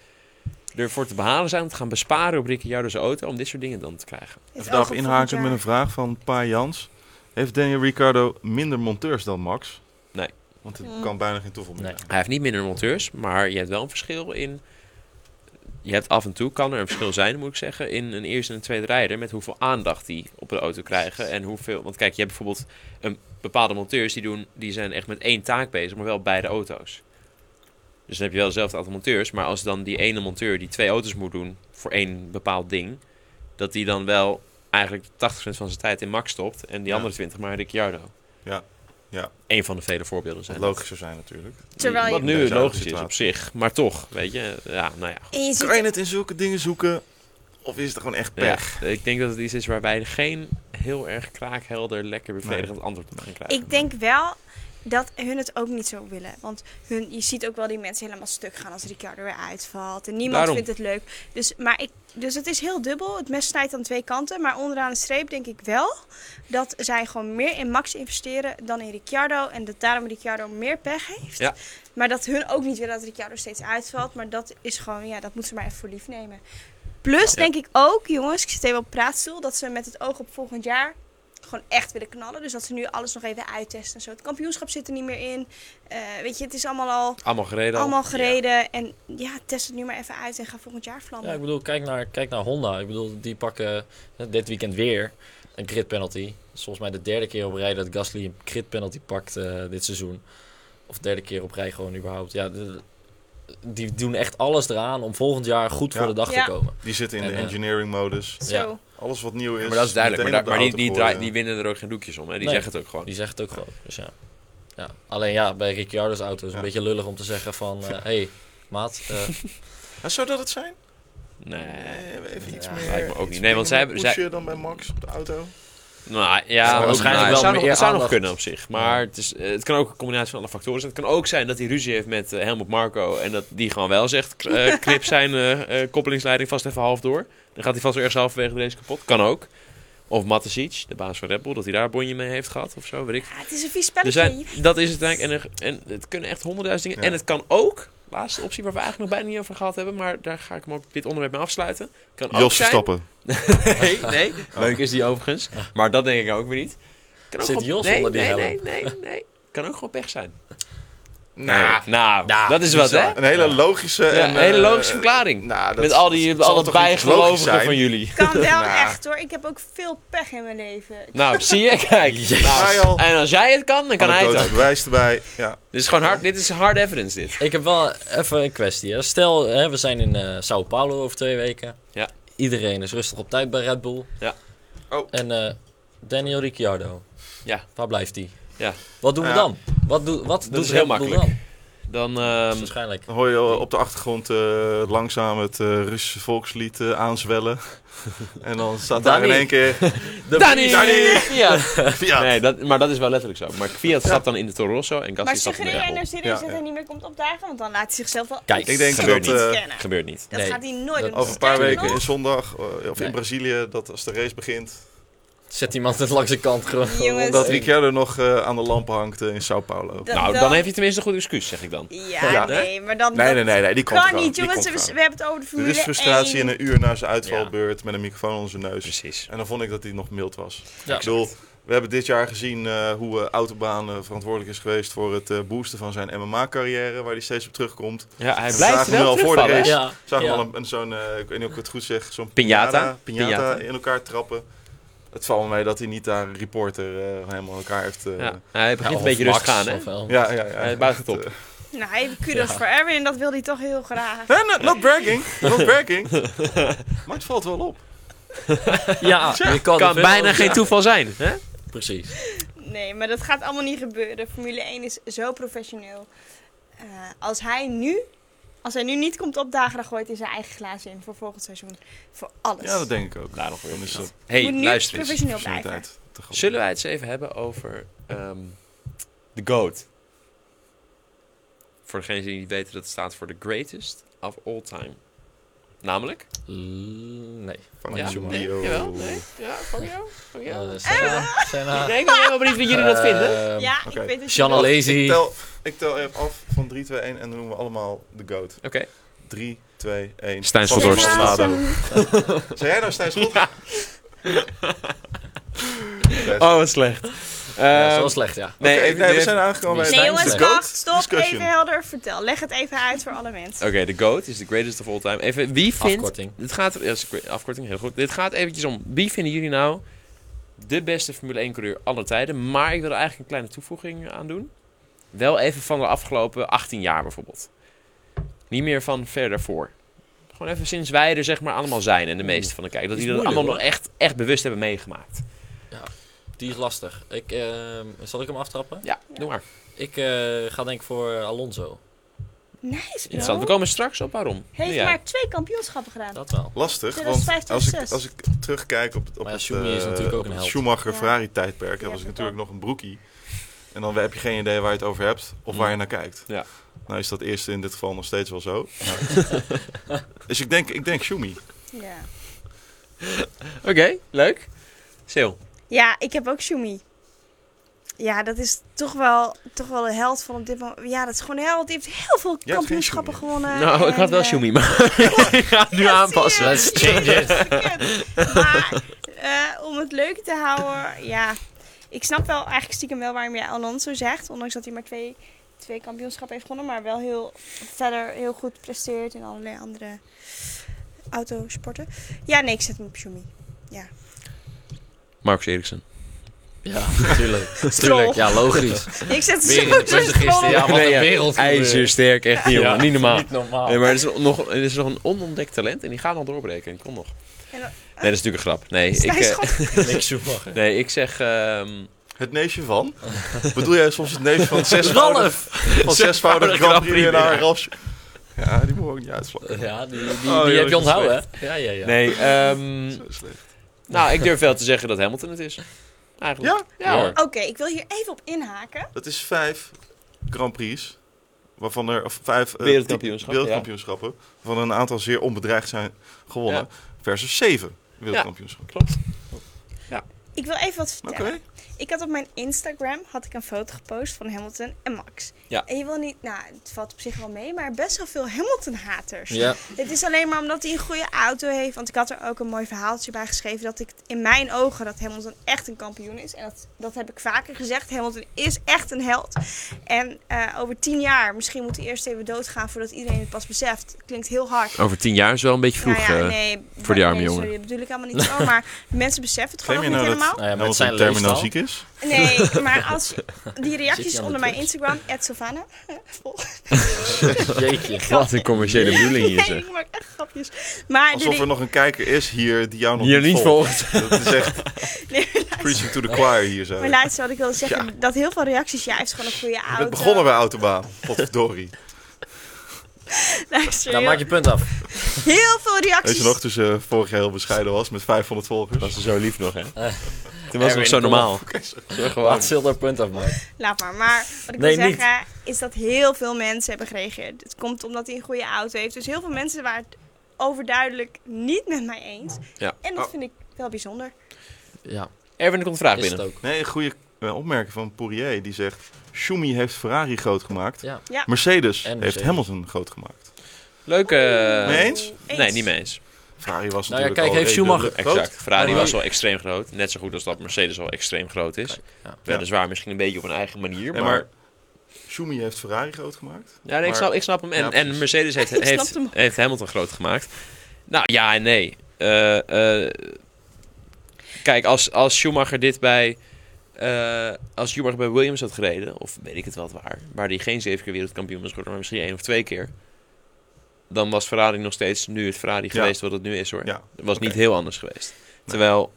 ervoor te behalen zijn om te gaan besparen op Ricciardo's auto om dit soort dingen dan te krijgen? Het oog op Vandaag volgend inhaken jaar. met een vraag van Pa Jans. Heeft Daniel Ricciardo minder monteurs dan Max? Nee. Want het Mm. kan bijna geen toeval meer Nee. zijn. Hij heeft niet minder monteurs, maar je hebt wel een verschil in. Je hebt af en toe kan er een verschil zijn, moet ik zeggen, in een eerste en een tweede rijder met hoeveel aandacht die op de auto krijgen en hoeveel. Want kijk, je hebt bijvoorbeeld een bepaalde monteurs die doen, die zijn echt met één taak bezig, maar wel beide auto's. Dus dan heb je wel hetzelfde aantal monteurs, maar als dan die ene monteur die twee auto's moet doen voor één bepaald ding, dat die dan wel eigenlijk 80% van zijn tijd in Max stopt en die Ja. andere 20 maar in Ricciardo. Ja, ja. Eén van de vele voorbeelden zijn. Wat dat. logisch zou zijn natuurlijk. Terwijl je- Wat nu Deze logisch is situatie. op zich. Maar toch, weet je. Ja, nou ja. goed. En je ziet Kan je het in zulke dingen zoeken? Of is het gewoon echt Ja, pech? ik denk dat het iets is waarbij je geen heel erg kraakhelder, lekker bevredigend antwoord op gaan krijgen. Ik denk wel dat hun het ook niet zo willen. Want hun, je ziet ook wel die mensen helemaal stuk gaan als Ricardo weer uitvalt. En niemand Daarom. vindt het leuk. Dus, maar ik, dus het is heel dubbel. Het mes snijdt aan twee kanten. Maar onderaan de streep denk ik wel dat zij gewoon meer in Max investeren dan in Ricciardo. En dat daarom Ricciardo meer pech heeft. Ja. Maar dat hun ook niet willen dat Ricciardo steeds uitvalt. Maar dat is gewoon, ja, dat moeten ze maar even voor lief nemen. Plus denk ik ook, jongens, ik zit even op praatstoel, dat ze met het oog op volgend jaar gewoon echt willen knallen. Dus dat ze nu alles nog even uittesten en zo. Het kampioenschap zit er niet meer in. Eh, weet je, het is allemaal al Allemaal gereden. al. allemaal gereden. En ja, test het nu maar even uit en ga volgend jaar vlammen. Ja, ik bedoel, kijk naar, kijk naar Honda. Ik bedoel, die pakken eh, dit weekend weer een crit penalty. Volgens mij de derde keer op rij dat Gasly een crit penalty pakt eh, dit seizoen. Of derde keer op rij gewoon überhaupt. Ja, de- die doen echt alles eraan om volgend jaar goed voor Ja. de dag Ja. te komen. Die zitten in En, de eh, engineering modus. zo. ja. Alles wat nieuw is. maar dat is duidelijk. Maar, meteen daar- maar op die, de die, auto eh. draai- gooien. die winnen er ook geen doekjes om. Hè? Die Nee. zeggen het ook gewoon. Die zegt het ook gewoon. Dus ja. ja. Alleen ja, bij Ricciardo's auto is het Ja. een beetje lullig om te zeggen van... eh hey, maat, eh, Ja, zou dat het zijn? Nee. even iets Ja, meer. lijkt me ook iets niet. Nee, want zij meer hebben- zij- pushen dan bij Max op de auto. Nou Ja, ja, waarschijnlijk nou, het wel zou nog- meer Het zou nog aandacht. kunnen op zich. Maar het, is, eh, het kan ook een combinatie van alle factoren zijn. Het kan ook zijn dat hij ruzie heeft met eh, Helmut Marco. En dat die gewoon wel zegt: eh knip zijn eh, eh, koppelingsleiding vast even half door. Dan gaat hij vast weer ergens halverwege de race kapot. Kan ook. Of Matesic, de baas van Red Bull, dat hij daar bonje mee heeft gehad of zo. Weet ik Ja, Ah, het is een vies er spelletje. zijn, dat is het eigenlijk. En, er- en het kunnen echt honderdduizend dingen. Ja. En het kan ook, laatste optie waar we eigenlijk nog bijna niet over gehad hebben, maar daar ga ik hem op dit onderwerp mee afsluiten. Kan ook Jos zijn- Verstappen. Nee, nee. Leuk is die overigens. Maar dat denk ik ook weer niet. Kan ook Zit gewoon- Jos nee, onder die nee, helm? nee, nee, nee. Kan ook gewoon pech zijn. Nou, nou, nou, dat is wat, hè? Een hele logische. Ja, en, een hele eh, logische verklaring. nou, dat- Met al die, dat zal al het toch iets logisch bijgelovigen zijn? van jullie. Kan wel Nou. echt hoor. Ik heb ook veel pech in mijn leven. Nou, zie je, kijk. Hij Nou, al. en als jij het kan, dan kan hij het Anekdotisch ook. bewijs erbij. Ja. Dit is gewoon hard, dit is hard evidence, dit. Ik heb wel even een kwestie. Hè. Stel, hè, we zijn in eh Sao Paulo over twee weken. Ja. Iedereen is rustig op tijd bij Red Bull. Ja. Oh. En eh, Daniel Ricciardo. Ja. Waar blijft hij? Ja. Wat doen we Ja. dan? Wat, doe, wat doet is Red heel Bull makkelijk. dan? Dan, Dat is ehm, waarschijnlijk. Dan hoor je op de achtergrond eh, langzaam het eh, Russische volkslied eh, aanzwellen. en dan staat daar in Danny. één keer. De Danny! Danny! Ja. Fiat. Nee, dat, maar dat is wel letterlijk zo. Maar Fiat stapt dan in de Toro Rosso en Gasly maar stapt in de Red suggereer je nou Bull. serieus Ja, dat ja. hij niet meer komt opdagen? Want dan laat hij zichzelf wel Kijk, Ik denk Gebeurt dat niet. eh, kennen. Gebeurt niet. Dat nee. gaat hij nooit Dat- doen. over een paar Sterker weken in nog, zondag, eh, of Nee. in Brazilië, dat als de race begint, Zet iemand het langs de kant gewoon. Jongens. dat Hey. Ricciardo nog eh, aan de lamp hangt eh, in Sao Paulo. dat- Nou, dat- dan heeft hij tenminste een goed excuus, zeg ik dan. Ja, Ja. nee, maar dan... Nee, nee, nee, nee, die kan komt eraan, niet, die jongens. komt We, eraan. we hebben het over de Er Formule is frustratie 1. in een uur na zijn uitvalbeurt met een microfoon onder zijn neus. Precies. En dan vond ik dat hij nog mild was. Ja. Ik bedoel, We hebben dit jaar gezien eh, hoe eh, Autobaan eh, verantwoordelijk is geweest voor het eh, boosten van zijn MMA-carrière, waar hij steeds op terugkomt. Ja, hij We blijft zagen hem wel wel voor de terugvallen. race. hè? Ja, Zagen ja. we al een, een- zo'n, eh, ik weet niet of ik het goed zeg, zo'n Piñata? piñata Piñata. in elkaar trappen. Het valt me mee dat hij niet daar een reporter eh, helemaal in elkaar heeft. eh, Ja, hij begint Ja, een of beetje Max rustig aan, hè? of wel. ja, Eh, ja, ja. Hij buigt het op. Nou, hij heeft kudos voor Erwin en dat wil hij toch heel graag. Nee, nee, not bragging. Not bragging. maar het valt wel op. Ja, je kan, Kan er veel- bijna ja, geen toeval zijn, hè? Precies. Nee, maar dat gaat allemaal niet gebeuren. Formule 1 is zo professioneel. Eh, als, hij nu, als hij nu niet komt opdagen, dan gooit hij zijn eigen glazen in voor volgend seizoen. Voor alles. Ja, dat denk ik ook. Nou, nog Dan is dat Hey, Moet nu luister eens. professioneel blijven. professionaliteit te groot. Zullen wij het eens even hebben over ehm, de GOAT? Voor degenen die niet weten, dat staat voor the greatest of all time. Namelijk? Mm, Nee. Van Ja, Schumacher. nee, jawel, nee. Ja, Fabio? Fabio? Eh, Senna. Senna. Nee, ik ben helemaal benieuwd wat jullie dat vinden. Ehm, Ah. ja, oké. ik weet het Shanna niet. Ik Lazy. tel, ik tel even af van 3, 2, 1 en dan noemen we allemaal de GOAT. Oké. 3, 2, 1. Stijn Van Scholdorst. Lado. Zijn jij nou Stijn Scholdorst? Best. Oh, wat slecht. Ja, Ehm, is wel slecht, ja. nee, Oké, even- nee, we even- zijn aangekomen bij Nee Stijn is jongens, de GOAT wacht, stop, discussion. even helder, vertel. Leg het even uit voor alle mensen. Oké, de GOAT is the greatest of all time. Even, wie vindt... Afkorting. Dit gaat, ja, is een great- afkorting, heel goed. Dit gaat eventjes om, wie vinden jullie nou de beste Formule 1-coureur aller tijden? Maar ik wil er eigenlijk een kleine toevoeging aan doen. Wel even van de afgelopen 18 jaar bijvoorbeeld. Niet meer van ver daarvoor. Gewoon even sinds wij er zeg maar allemaal zijn en de meeste van de kijkers. Dat Is die dat moeilijk, allemaal nog echt, echt bewust hebben meegemaakt. Die is lastig. Ik, ehm, zal ik hem aftrappen? Ja, doe maar. Ik eh, ga denk ik voor Alonso. Nice bro. Interessant. We komen straks op waarom. Heeft Nu jij. maar twee kampioenschappen gedaan. Dat wel. Lastig, want 2015, als ik, 2006. als ik terugkijk op, het- op Maar ja, het, Schumi is eh, natuurlijk ook op een het held. Schumacher-Ferrari-tijdperk, Ja, dan was ik dat natuurlijk nog een broekie. En dan heb je geen idee waar je het over hebt of Mm. waar je naar kijkt. Ja. Nou is dat eerste in dit geval nog steeds wel zo. dus ik denk, ik denk Schumi. Ja. Oké, leuk. Sil. Ja, ik heb ook Shumi. Ja, dat is toch wel, toch wel een held van op dit moment. Ja, dat is gewoon een held. Die heeft heel veel geen kampioenschappen Schumi. gewonnen. nou, ik en, had wel eh, Schumi, maar ik ga het nu ja, aanpassen. zie je, Let's je change bent verkeerd. Maar eh, om het leuk te houden, ja. Ik snap wel eigenlijk stiekem wel waarom jij Alonso zegt. Ondanks dat hij maar twee, twee kampioenschappen heeft gewonnen. Maar wel heel verder heel goed presteert in allerlei andere autosporten. Ja, nee, ik zet hem op Shumi. Marcus Eriksen. Ja, natuurlijk. Tuurlijk, ja, logisch. Ik zet Weer in de Portugisten. Ja, wat Nee, een ja. wereld. IJzersterk, echt niet, jongen. Niet normaal. Niet normaal. Nee, maar er is, nog, er is nog een onontdekt talent en die gaat nog doorbreken. Die komt nog. En Nee, dan- dat is natuurlijk een grap. Nee, ik, eh, Niks Schumacher. nee, ik zeg... ehm, Het neefje van? Bedoel jij soms het neefje van het zesvoudig, Ralf! van zesvoudig Grand Grand Prix Prix winnaar. naar Ralf? Ja, die moet ik ook niet uitslakken. Ja, die, die, Oh, die, joh, dat heb je is onthouden, hè? Ja, ja, ja. Nee, ehm, Zo slecht. nou, ik durf wel te zeggen dat Hamilton het is. Eigenlijk. Ja? Ja, hoor. eh, Oké, ik wil hier even op inhaken. Dat is vijf Grand Prix, waarvan er of vijf eh, Wereldkampioenschappen, wereldkampioenschappen waarvan er een aantal zeer onbedreigd zijn gewonnen, versus zeven wereldkampioenschappen. Klopt. Ik wil even wat Oké. vertellen. Ik had op mijn Instagram had ik een foto gepost van Hamilton en Max. Ja. En je wil niet, nou, het valt op zich wel mee, maar best wel veel Hamilton-haters. Ja, Het is alleen maar omdat hij een goede auto heeft. Want ik had er ook een mooi verhaaltje bij geschreven dat ik in mijn ogen dat Hamilton echt een kampioen is. En dat, dat heb ik vaker gezegd. Hamilton is echt een held. En eh, over tien jaar, misschien moet hij eerst even doodgaan voordat iedereen het pas beseft. Klinkt heel hard. Over tien jaar is wel een beetje vroeg. eh. nou ja, nee, voor die arme nee, jongen. Sorry, dat bedoel ik allemaal niet zo. Maar mensen beseffen het Claim gewoon je nog niet nou helemaal. dat nou ja met Hamilton zijn terminaal leefstijl. ziek is? Nee, maar als je- die Zit reacties hij aan de onder mijn drugs? Instagram, Sylvana. Vol. Jeetje. Wat een commerciële bedoeling hier, Nee, zeg. ik maak echt grapjes. Maar de Alsof er nog een kijker is hier die jou nog Hier niet niet volgt. volgt. Dat is echt Nee, preaching to the choir hier zo. maar luister, wat ik wilde zeggen, dat heel veel reacties, ja, hij heeft gewoon een goede Je auto. bent begonnen bij Autobaan. Potverdorie. Luister, Nou, heel, maak je punt af. heel veel Weet je reacties. nog, toen ze vorig jaar heel bescheiden was met 500 volgers. ze zo lief nog, hè? Toen was het nog Erwin, zo kom normaal. Laat Sil daar punt af maken. Laat maar. Maar wat ik Nee, wil niet. zeggen, is dat heel veel mensen hebben gereageerd. Het komt omdat hij een goede auto heeft. Dus heel veel mensen waren het overduidelijk niet met mij eens. Ja. En dat Oh. vind ik wel bijzonder. Ja, Erwin, er komt een vraag is het binnen. ook. Nee, een goede eh, opmerking van Poirier. Die zegt, Schumi heeft Ferrari groot gemaakt. Ja. Ja. Mercedes En heeft Mercedes. Hamilton groot gemaakt. Leuk. eh, Mee eens? Nee, niet mee eens. Ferrari was Nou ja, natuurlijk al kijk, heeft redelijk Schumacher- groot. Exact. Ferrari Maar- was wel extreem groot. Net zo goed als dat Mercedes al extreem groot is. ja. Weliswaar misschien een beetje op een eigen manier. Nee, maar maar Schumi heeft Ferrari groot gemaakt. Ja, nee, ik, Maar- snap, ik snap hem. En, Ja, en precies. Mercedes heeft, Ik snap heeft, hem. heeft Hamilton groot gemaakt. Nou ja en nee. Eh, eh, kijk, als, als Schumacher dit bij. eh, als Schumacher bij Williams had gereden, of weet ik het wel waar, waar hij geen zeven keer wereldkampioen was geworden, maar misschien één of twee keer. Dan was Ferrari nog steeds nu het Ferrari Ja. geweest wat het nu is hoor. Ja, Het was niet Oké. heel anders geweest. Terwijl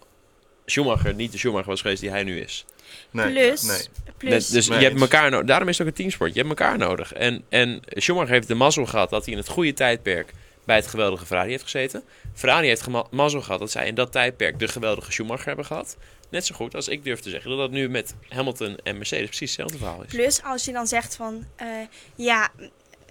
Schumacher niet de Schumacher was geweest die hij nu is. nee, plus, nee. plus. Net- dus Nee, je hebt eens. elkaar nodig. Daarom is het ook een teamsport. Je hebt elkaar nodig. En, en Schumacher heeft de mazzel gehad dat hij in het goede tijdperk bij het geweldige Ferrari heeft gezeten. Ferrari heeft gema- mazzel gehad dat zij in dat tijdperk de geweldige Schumacher hebben gehad. Net zo goed als ik durf te zeggen dat dat nu met Hamilton en Mercedes precies hetzelfde verhaal is. Plus als je dan zegt van, eh, ja,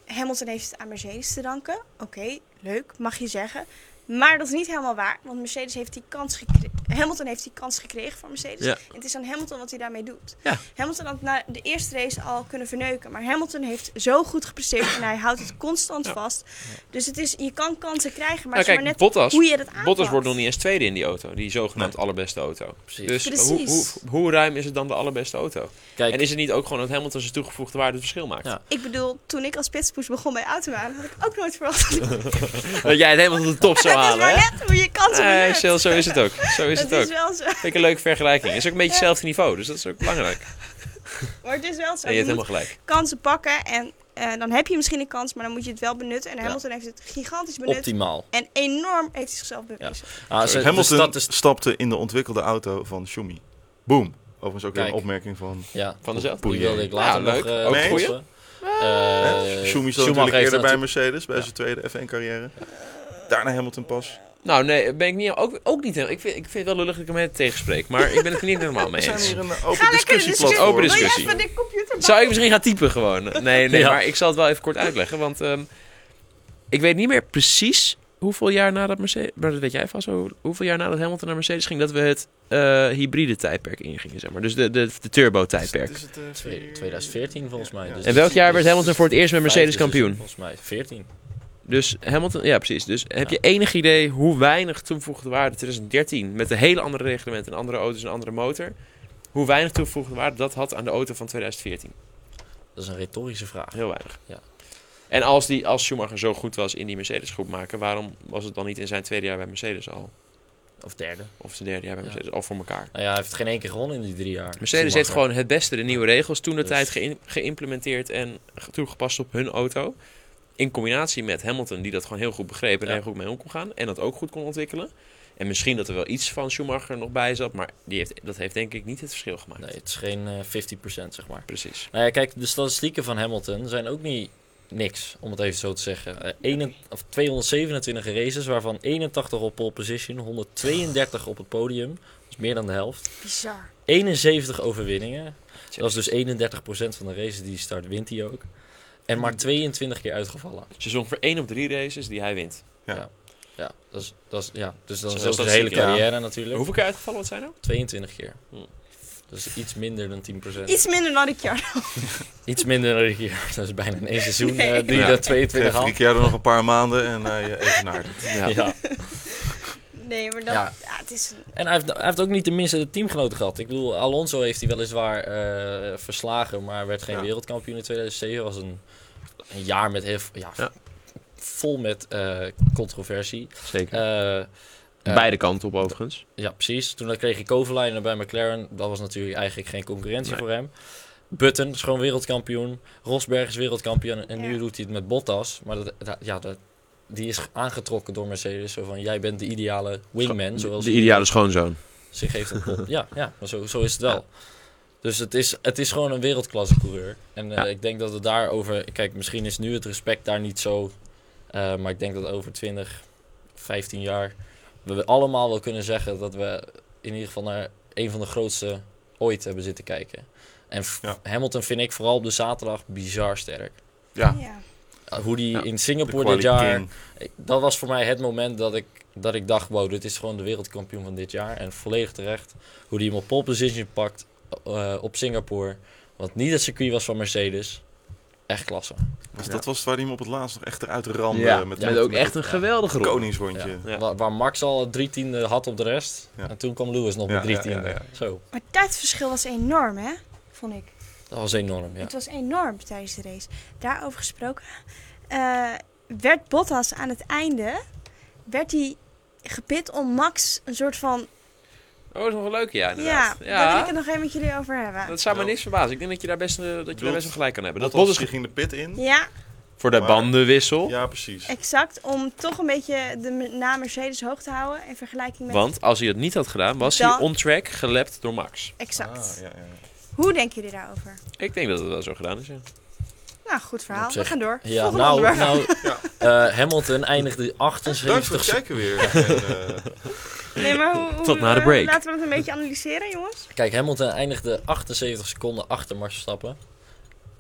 Hamilton heeft het aan Mercedes te danken. Oké, leuk, mag je zeggen. Maar dat is niet helemaal waar, want Mercedes heeft die kans gekregen. Hamilton heeft die kans gekregen van Mercedes. Ja. En het is aan Hamilton wat hij daarmee doet. Ja. Hamilton had na de eerste race al kunnen verneuken. Maar Hamilton heeft zo goed gepresteerd en hij houdt het constant Ja. vast. Dus het is, je kan kansen krijgen, Nou, maar het is kijk, maar net Bottas, hoe je dat aanpakt. Bottas wordt nog niet eens tweede in die auto. Die zogenaamd allerbeste auto. Precies. Dus hoe, Precies. hoe, hoe ruim is het dan de allerbeste auto? Kijk, En is het niet ook gewoon dat Hamilton zijn toegevoegde waarde het verschil maakt? Ja. Ik bedoel, toen ik als pitspoes begon bij Automaan, had ik ook nooit verwacht. dat ik- Dat jij het helemaal tot de top zou Het is halen, maar hè? net hoe je kansen Nee, benut. Eh, zo, zo is het ook. Zo is Het het ook. is wel zo. Vind ik een leuke vergelijking. Is ook een beetje hetzelfde niveau, dus dat is ook belangrijk. En Maar het is wel zo. je hebt Je helemaal moet gelijk. kansen pakken en eh, dan heb je misschien een kans, maar dan moet je het wel benutten. En Hamilton heeft het gigantisch benut. optimaal. En enorm heeft hij zichzelf bewezen. Ah, ze- de Hamilton stad is- stapte in de ontwikkelde auto van Schumi. Boom. Overigens ook weer een Kijk. opmerking van... ja, Van dezelfde. die wilde ik later Nou, leuk. nog... eh, Ook een goeie. toppen. Schumi Eh, zat Schumacher natuurlijk heeft eerder bij natuurlijk- Mercedes, bij zijn tweede F1-carrière. Daarna Hamilton pas. Nou, nee, ben ik niet, ook, ook niet helemaal. Ik vind, ik vind het wel lullig dat ik hem het tegenspreek, maar ik ben het er niet helemaal We mee zijn eens. hier een eh, Ga open lekker de discussie. discussieplatform. Open Wil je discussie. even de computer Zou ik misschien gaan typen gewoon? Nee, nee, Ja. maar ik zal het wel even kort uitleggen, want ehm, ik weet niet meer precies hoeveel jaar nadat Mercedes, maar dat weet jij vast, wel, hoeveel jaar nadat Hamilton naar Mercedes ging, dat we het eh, hybride tijdperk ingingen, zeg maar. Dus de, de, de turbo tijdperk. Is het, eh, twee- vier- 2014 volgens mij. Ja. Dus En welk dat- jaar dus- werd Hamilton voor het eerst met vijf Mercedes is dus kampioen? Volgens mij 14. Dus Hamilton, ja precies. Dus heb je enig idee hoe weinig toegevoegde waarde 2013 met de hele andere reglementen en andere auto's en andere motor, hoe weinig toegevoegde waarde dat had aan de auto van 2014? Dat is een retorische vraag. Heel weinig. Ja. En als, die, als Schumacher zo goed was in die Mercedes groep maken, waarom was het dan niet in zijn tweede jaar bij Mercedes al? Of derde. Of zijn derde jaar bij Ja. Mercedes al voor elkaar? Nou ja, hij heeft geen één keer gewonnen in die drie jaar. Mercedes heeft gewoon het beste de nieuwe regels toen de Dus- tijd geïn- geïmplementeerd en ge- toegepast op hun auto. In combinatie met Hamilton, die dat gewoon heel goed begreep en Ja. heel goed mee om kon gaan. En dat ook goed kon ontwikkelen. En misschien dat er wel iets van Schumacher nog bij zat, maar die heeft, dat heeft denk ik niet het verschil gemaakt. Nee, het is geen eh, 50% zeg maar. Precies. Nou ja, kijk, de statistieken van Hamilton zijn ook niet niks, om het even zo te zeggen. Eh, 1 of 227 races, waarvan 81 op pole position, 132 op het podium. Dat is meer dan de helft. Bizar. 71 overwinningen. Dat is dus 31% van de races die hij start, wint hij ook. En maar 22 keer uitgevallen. Ze zong voor één op drie races die hij wint. Ja, dat is, dat is, ja dus dan Dat is is ook zijn hele statistiek, ja. carrière natuurlijk. Hoeveel keer uitgevallen wat zijn nou? 22 keer. Hmm. Dat is iets minder dan 10%. Iets minder dan ik jaar. Iets minder dan een jaar. Dat is bijna in één seizoen Nee. eh, die Ja. dat 22 Geef had. drie keer er nog een paar maanden en hij eh, evenaart het. Ja. Ja. Nee, maar dat, Ja. ja. het is, En hij heeft, hij heeft ook niet de minste teamgenoten gehad. Ik bedoel, Alonso heeft hij weliswaar eh, verslagen, maar werd geen Ja. wereldkampioen in 2007. was een, een jaar met heel, ja, Ja. vol met eh, controversie. Zeker. Eh, eh, Beide kanten op overigens. Ja, precies. Toen kreeg ik Kovalainen bij McLaren. Dat was natuurlijk eigenlijk geen concurrentie Nee. voor hem. Button is gewoon wereldkampioen. Rosberg is wereldkampioen. En nu Ja. doet hij het met Bottas. Maar dat, dat- ja, dat, die is aangetrokken door Mercedes. Zo van, jij bent de ideale wingman. Zoals hij schoonzoon. zich heeft ontpopt. ja, ja maar zo, zo is het wel. Dus het is, het is gewoon een wereldklasse coureur. En eh, Ja. ik denk dat het daarover... Kijk, misschien is nu het respect daar niet zo... eh, maar ik denk dat over 20, 15 jaar... we allemaal wel kunnen zeggen dat we in ieder geval naar een van de grootste ooit hebben zitten kijken. En f- Ja. Hamilton vind ik vooral op de zaterdag bizar sterk. Ja, ja. Uh, hoe die Ja, in de Singapore dit quality jaar... king. Ik- Dat was voor mij het moment dat ik, dat ik dacht: wow, dit is gewoon de wereldkampioen van dit jaar. En volledig terecht. Hoe die hem op pole position pakt eh, op Singapore. Wat niet het circuit was van Mercedes. echt klasse. Dus Ja. dat was waar hij hem op het laatst nog echt eruit ramde. ja, met, met, met- ook met echt een geweldige het rol. koningsrondje. Ja. Ja. Waar, waar Max al drie tienden had op de rest. Ja. En toen kwam Lewis nog Ja, met drie ja, ja, tienden. ja. Zo, Maar het tijdverschil was enorm, hè? Vond ik. dat was enorm. Ja. Het was enorm tijdens de race. Daarover gesproken. eh, werd Bottas aan het einde... werd hij gepit om Max een soort van... Oh, dat is nog een leuke, ja, Ja, inderdaad. daar wil ik het nog even met jullie over hebben. Dat zou me niks verbazen. Ik denk dat je daar best, eh, dat je daar Bedoelt- best wel gelijk kan hebben. Dat dus- Bottas Bottas ging de pit in. Ja, voor de Maar- bandenwissel. Ja, precies. exact. Om toch een beetje de me- naam Mercedes hoog te houden in vergelijking met... Want als hij het niet had gedaan, was hij Dan- on track gelapt door Max. Exact. Ah, ja, ja, ja. Hoe denken jullie daarover? Ik denk dat het wel zo gedaan is. Ja. Nou, goed verhaal. Op zich- We gaan door. Ja, Volgende nou, onderwerp. nou Ja. eh, Hamilton eindigde Dank voor 78 het seconden. kijken weer. En, eh, Nee, maar hoe, hoe- Tot na de eh, break. Laten we dat een beetje analyseren, jongens. Kijk, Hamilton eindigde 78 seconden achter Max Verstappen.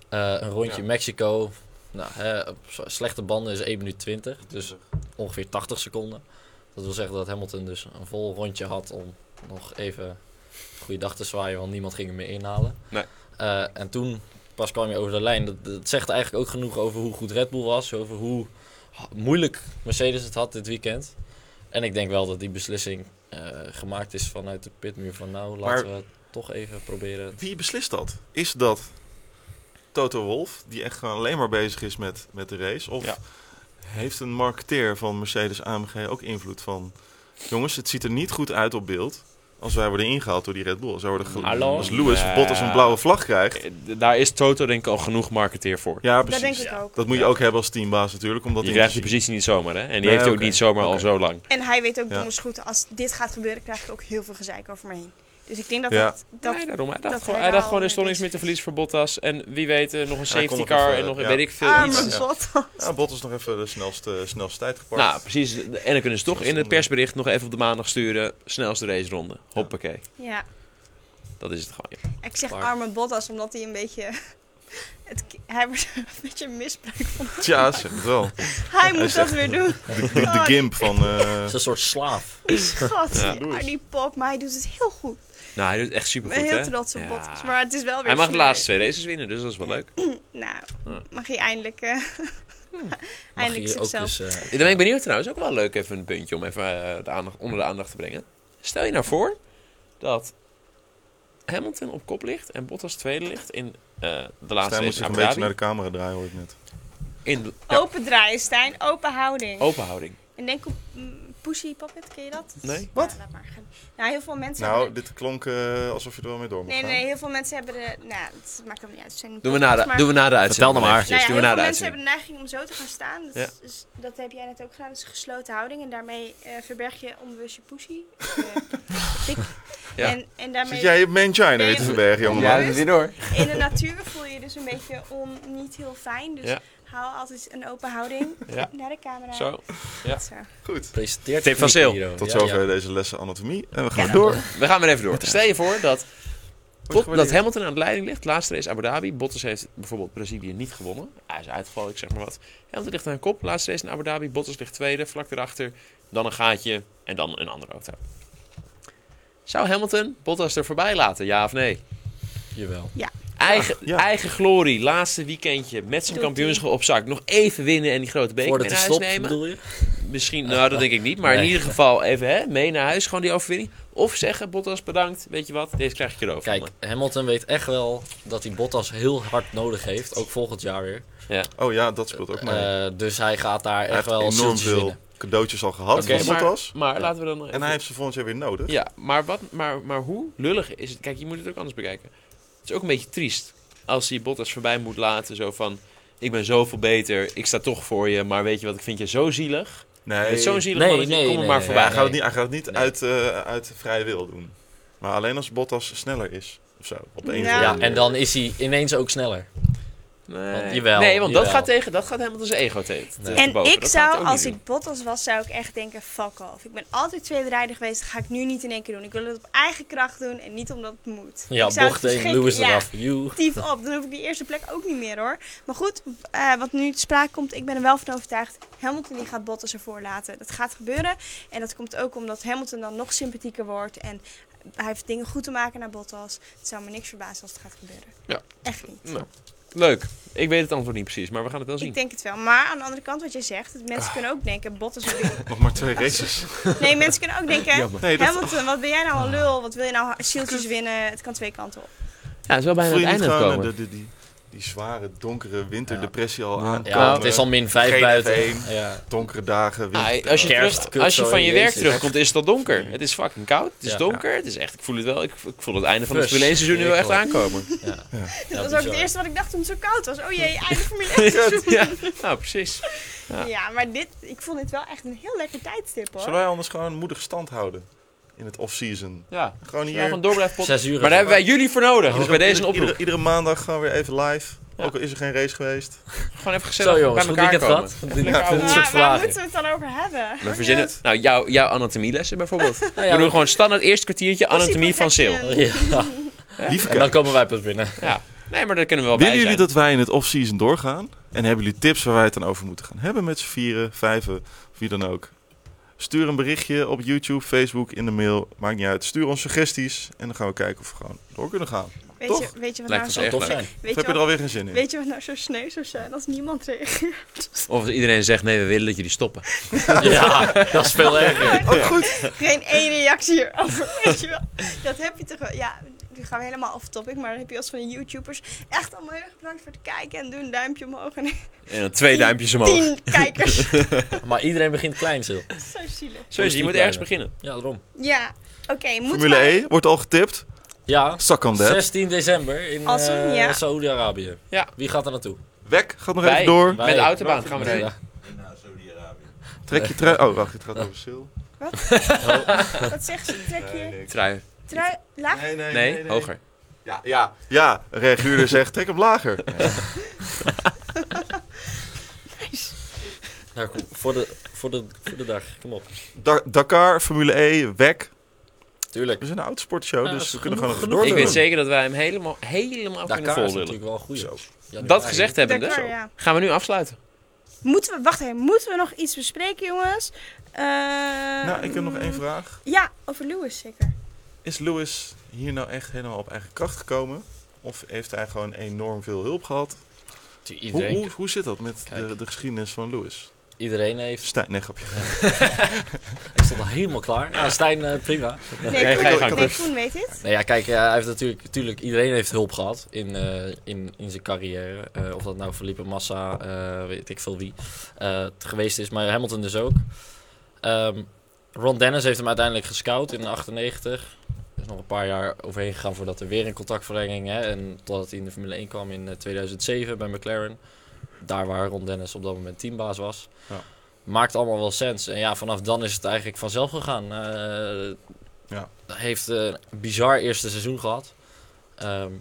Eh, een rondje Ja. Mexico. Nou, hè, op s- slechte banden is 1 minuut 20. Dus ongeveer 80 seconden. Dat wil zeggen dat Hamilton dus een vol rondje had om nog even goede dag te zwaaien, want niemand ging hem meer inhalen. Nee. Eh, en toen pas kwam je over de lijn. Dat, dat zegt eigenlijk ook genoeg over hoe goed Red Bull was, over hoe ha- moeilijk Mercedes het had dit weekend. En ik denk wel dat die beslissing eh, gemaakt is vanuit de pitmuur van nou, laten we toch even proberen. wie beslist dat? Is dat Toto Wolf, die echt gewoon alleen maar bezig is met, met de race? Of Ja. heeft een marketeer van Mercedes AMG ook invloed van... Jongens, het ziet er niet goed uit op beeld als wij worden ingehaald door die Red Bull. Als, wij worden ge- Hallo? als Lewis Ja. Bottas een blauwe vlag krijgt. Eh, d- Daar is Toto denk ik al genoeg marketeer voor. Ja, Dat precies. denk ik ook. Dat moet je ook hebben als teambaas natuurlijk. Omdat Je in te krijgt die zien. positie niet zomaar, hè? En die Nee, heeft hij ook oké. niet zomaar al Oké. zo lang. En hij weet ook Ja. donders goed, als dit gaat gebeuren, krijg ik ook heel veel gezeik over me heen. Dus ik denk dat Ja. dat... dat nee, daarom. Hij dat dacht, gewoon, hij hij daar dacht gewoon, al er is toch mee niks meer te verliezen bezig voor Bottas. En wie weet, eh, nog een Hij kon safety nog car even, en nog een ja. weet ik veel arme iets. Ja. Bottas. Ja, Bottas nog even de snelste, snelste tijd gepakt. Nou, precies. En dan kunnen ze toch in het Zonde. persbericht nog even op de maandag sturen. Snelste race ronde. Hoppakee. Ja, Dat is het gewoon. ja. ik zeg Park. arme Bottas omdat hij een beetje... Het, hij wordt er een beetje misbruik van. Tja, zeg het wel. Hij moet zegt- dat weer doen. De, de, de gimp van... eh, Het is een soort slaaf. Schat, Ja, die, die pop, maar hij doet het heel goed. Nou, hij doet het echt Ik super ben goed, heel hè? trots op Ja. Bottas, maar het is wel weer... Hij mag de sneu. laatste twee races winnen, dus dat is wel leuk. Nou, Ja. Hm. mag hij eindelijk... eh, Mag eindelijk je ook zichzelf... dus, eh, Dan ben ik benieuwd trouwens, ook wel leuk even een puntje om even eh, de aandacht, onder de aandacht te brengen. Stel je nou voor dat Hamilton op kop ligt en Bottas tweede ligt in eh, de laatste Stijn moet race in zich een Abu beetje naar Dhabi. de camera draaien, hoor ik net. In de- ja, Oh. Open draaien, Stijn. Open houding. openhouding. En denk op mm, Pussy Pocket, ken je dat? Nee. Wat? laat maar gaan. Nou, heel veel mensen Nou, hebben... dit klonk eh, alsof je er wel mee door moet Nee, gaan. nee, heel veel mensen hebben de... Nou, dat maakt hem niet uit. Het zijn Doen we na de, podcasts, maar- doen we na de uitzending. nou maar. eventjes. Nou ja, doen heel we na veel de uitzending. mensen hebben de neiging om zo te gaan staan. Dat, Ja. is- dat heb jij net ook gedaan. Dat is een gesloten houding. En daarmee eh, verberg je onbewust je pussy. Eh, pik. Ja. en, en daarmee Zit jij je man China Nee, weer te verbergen, jongeman? Ja, weer door. in de natuur voel je je dus een beetje on, niet heel fijn. Dus Ja. hou altijd een open houding Ja. naar de camera. Zo. Zo. Goed. presenteert Tip van Nicky Sil. Hero. Tot Ja, zover ja. deze lessen anatomie. En we gaan door. We gaan weer even door. Stel je voor dat, Bot- dat gewaardeerd. Hamilton aan de leiding ligt. Laatste race Abu Dhabi. Bottas heeft bijvoorbeeld Brazilië niet gewonnen. Hij is uitgevallen, ik zeg maar wat. Hamilton ligt aan de kop. Laatste race in Abu Dhabi. Bottas ligt tweede, vlak erachter. Dan een gaatje en dan een andere auto. Zou Hamilton Bottas er voorbij laten, ja of nee? Jawel. Eigen, ja. eigen glorie, laatste weekendje met zijn Doet kampioenschap op zak. Nog even winnen en die grote beker Voor mee het naar huis stopt, nemen. bedoel je? Misschien, nou dat denk ik niet. Maar in Nee. ieder geval even hè, mee naar huis, gewoon die overwinning. Of zeggen, Bottas bedankt, weet je wat, deze krijg ik je erover. Kijk, Hamilton weet echt wel dat hij Bottas heel hard nodig heeft. Ook volgend jaar weer. Oh ja, dat speelt ook mee. Eh, dus hij gaat daar hij echt heeft wel enorm zieltjes veel winnen. cadeautjes al gehad Oké, van maar, Bottas. maar laten we dan... even- En hij heeft ze volgend jaar weer nodig. Ja, maar, wat, maar, maar hoe lullig is het? Kijk, je moet het ook anders bekijken. Het is ook een beetje triest als hij Bottas voorbij moet laten. Zo van, ik ben zoveel beter, ik sta toch voor je. Maar weet je wat, ik vind je zo zielig. Nee, Met zo'n zielig Nee, mannetje, nee, kom er nee, maar nee. Ja, hij, voorbij. gaat het niet, hij gaat het niet Nee. uit, eh, uit vrije wil doen. Maar alleen als Bottas sneller is. Of zo. Op de een of Ja. andere Ja, manier. en dan is hij ineens ook sneller. Nee, jawel, nee want dat jawel. gaat, tegen, dat gaat helemaal zijn ego tegen. te- Nee. te En boven. ik Dat gaat zou, ook niet als doen. ik Bottas was, zou ik echt denken, fuck off. Ik ben altijd tweede rijder geweest, dat ga ik nu niet in één keer doen. Ik wil het op eigen kracht doen en niet omdat het moet. Ja, ik zou bocht het dus 1, verschrikken- Lewis ja, eraf. You. Tief op, dan hoef ik die eerste plek ook niet meer hoor. Maar goed, eh, wat nu te sprake komt, ik ben er wel van overtuigd. Hamilton die gaat Bottas ervoor laten. Dat gaat gebeuren. En dat komt ook omdat Hamilton dan nog sympathieker wordt. En hij heeft dingen goed te maken naar Bottas. Het zou me niks verbazen als het gaat gebeuren. Ja. Echt niet. Nou, Leuk. Ik weet het antwoord niet precies, maar we gaan het wel zien. Ik denk het wel. Maar aan de andere kant, wat jij zegt, dat mensen kunnen ook denken, Bottas is weer- Nog maar twee races. Nee, mensen kunnen ook denken, Jammer. Ah. Nee, dat Hamilton, wat ben jij nou een lul? Wat wil je nou zieltjes winnen? Het kan twee kanten op. Ja, het is wel bijna voel het je niet einde gewoon gekomen. eh, de- de- die, die zware, donkere winterdepressie al Ja. aankomen. Ja, het is al eh, min 5 Geen buiten. F1. Ja. Donkere dagen, winter. Ah, als, je Kerst, terug- kut, als je zo, van je werk jezus. terugkomt, is het al donker. Het is fucking koud, het is Ja. donker. Het is echt, ik voel het wel. Ik, ik voel het einde van het Fris. Formule 1 seizoen nu wel echt Heerlijk. aankomen. Ja. dat was ook bizar. het eerste wat ik dacht toen het zo koud was. Oh jee, einde Formule 1 ja, nou precies. Ja. maar dit, ik vond dit wel echt een heel lekker tijdstip hoor. Zullen wij anders gewoon moedig stand houden in het off-season? Ja, Gewoon hier. ja van door blijven potten. Zes uur. Maar daar hebben wij jullie voor nodig. Dus Iedere- bij deze een iedere- oproep. Iedere, iedere maandag gewoon weer even live. Ja. Ook al is er geen race geweest. Gewoon even gezellig Zo bij jongens, goed elkaar weekend komen. gehad. Lekker ouwe Maar hoer. soort waar verlaging. moeten we het dan over hebben? We verzinnen, nou, jouw, jouw anatomielessen bijvoorbeeld. Nou ja, we doen gewoon standaard eerste kwartiertje anatomie van perfecte- Sil. Ja. Lieve En dan komen wij pas binnen. Ja. Nee, maar daar kunnen we wel Willen bij jullie zijn. dat wij in het off-season doorgaan? En hebben jullie tips waar wij het dan over moeten gaan hebben met z'n vieren, vijven, of wie dan ook? Stuur een berichtje op YouTube, Facebook, in de mail. Maakt niet uit. Stuur ons suggesties en dan gaan we kijken of we gewoon door kunnen gaan. Weet Toch? je, weet je Lijkt wat nou ons zo... Zou echt tof leuk. zijn. Of Weet je, heb je er wat, alweer geen zin in? weet je wat nou zo sneu zou zijn als niemand reageert? Of als iedereen zegt, nee, we willen dat jullie stoppen. Ja, dat is veel erger. Oh, goed. Geen één reactie hierover, weet je wel. Dat heb je toch wel. Ja, nu gaan we helemaal off topic, maar dan heb je als van de YouTubers echt allemaal heel erg bedankt voor het kijken en doe een duimpje omhoog en En dan twee duimpjes omhoog. tien kijkers. Maar iedereen begint klein, Sil. zo zielig. Zo is het, je moet ergens beginnen. Ja, daarom. Ja, oké, moeten Formule we... 1 wordt al getipt. Ja, Zak aan dat. 16 december in Als we- eh, ja. Saoedi-Arabië. Ja. Wie gaat er naartoe? Wek, gaat nog Wij- even door. Met de Wij. autobaan gaan we erheen. Trek je trui. Oh, wacht, het gaat over Sil. Wat zegt ze? Trek je Trui. trui laag? Nee, hoger. Ja, ja. ja een reaguurder zegt, trek hem lager. Nou, kom, voor, de, voor, de, voor de dag. Kom op. Da- Dakar, Formule E, WEC. Tuurlijk. We zijn een autosportshow, Ja, dat dus is we kunnen genoeg- gewoon genoeg door. Ik Hoor, weet hoor. zeker dat wij hem helemaal, helemaal kunnen Dakar is natuurlijk volhullen. wel een goeie. Dat gezegd Dakar, hebbende, ja. gaan we nu afsluiten. Moeten we, wacht even, moeten we nog iets bespreken, jongens? Eh, Nou, ik heb nog één vraag. Ja, over Lewis zeker. Is Lewis hier nou echt helemaal op eigen kracht gekomen? Of heeft hij gewoon enorm veel hulp gehad? Hoe, Iedereen, hoe, hoe zit dat met Kijk. de, de geschiedenis van Lewis? iedereen heeft. Stijn, nee, grapje. Ik stond al helemaal klaar. Ja, Stijn, eh, prima. Nee, ga je Koen, gang. nee, Koen weet dit. Nou ja, kijk, eh, hij heeft natuurlijk, natuurlijk, iedereen heeft hulp gehad in, eh, in, in zijn carrière. Eh, of dat nou Felipe Massa, eh, weet ik veel wie, eh, het geweest is. Maar Hamilton dus ook. Ehm, Ron Dennis heeft hem uiteindelijk gescout in 98. Er is nog een paar jaar overheen gegaan voordat er weer een contractverlenging... Hè, en totdat hij in de Formule 1 kwam in eh, 2007 bij McLaren. Daar waar Ron Dennis op dat moment teambaas was. Ja. Maakt allemaal wel sens. En ja, vanaf dan is het eigenlijk vanzelf gegaan. Eh, heeft eh, een bizar eerste seizoen gehad. Ehm,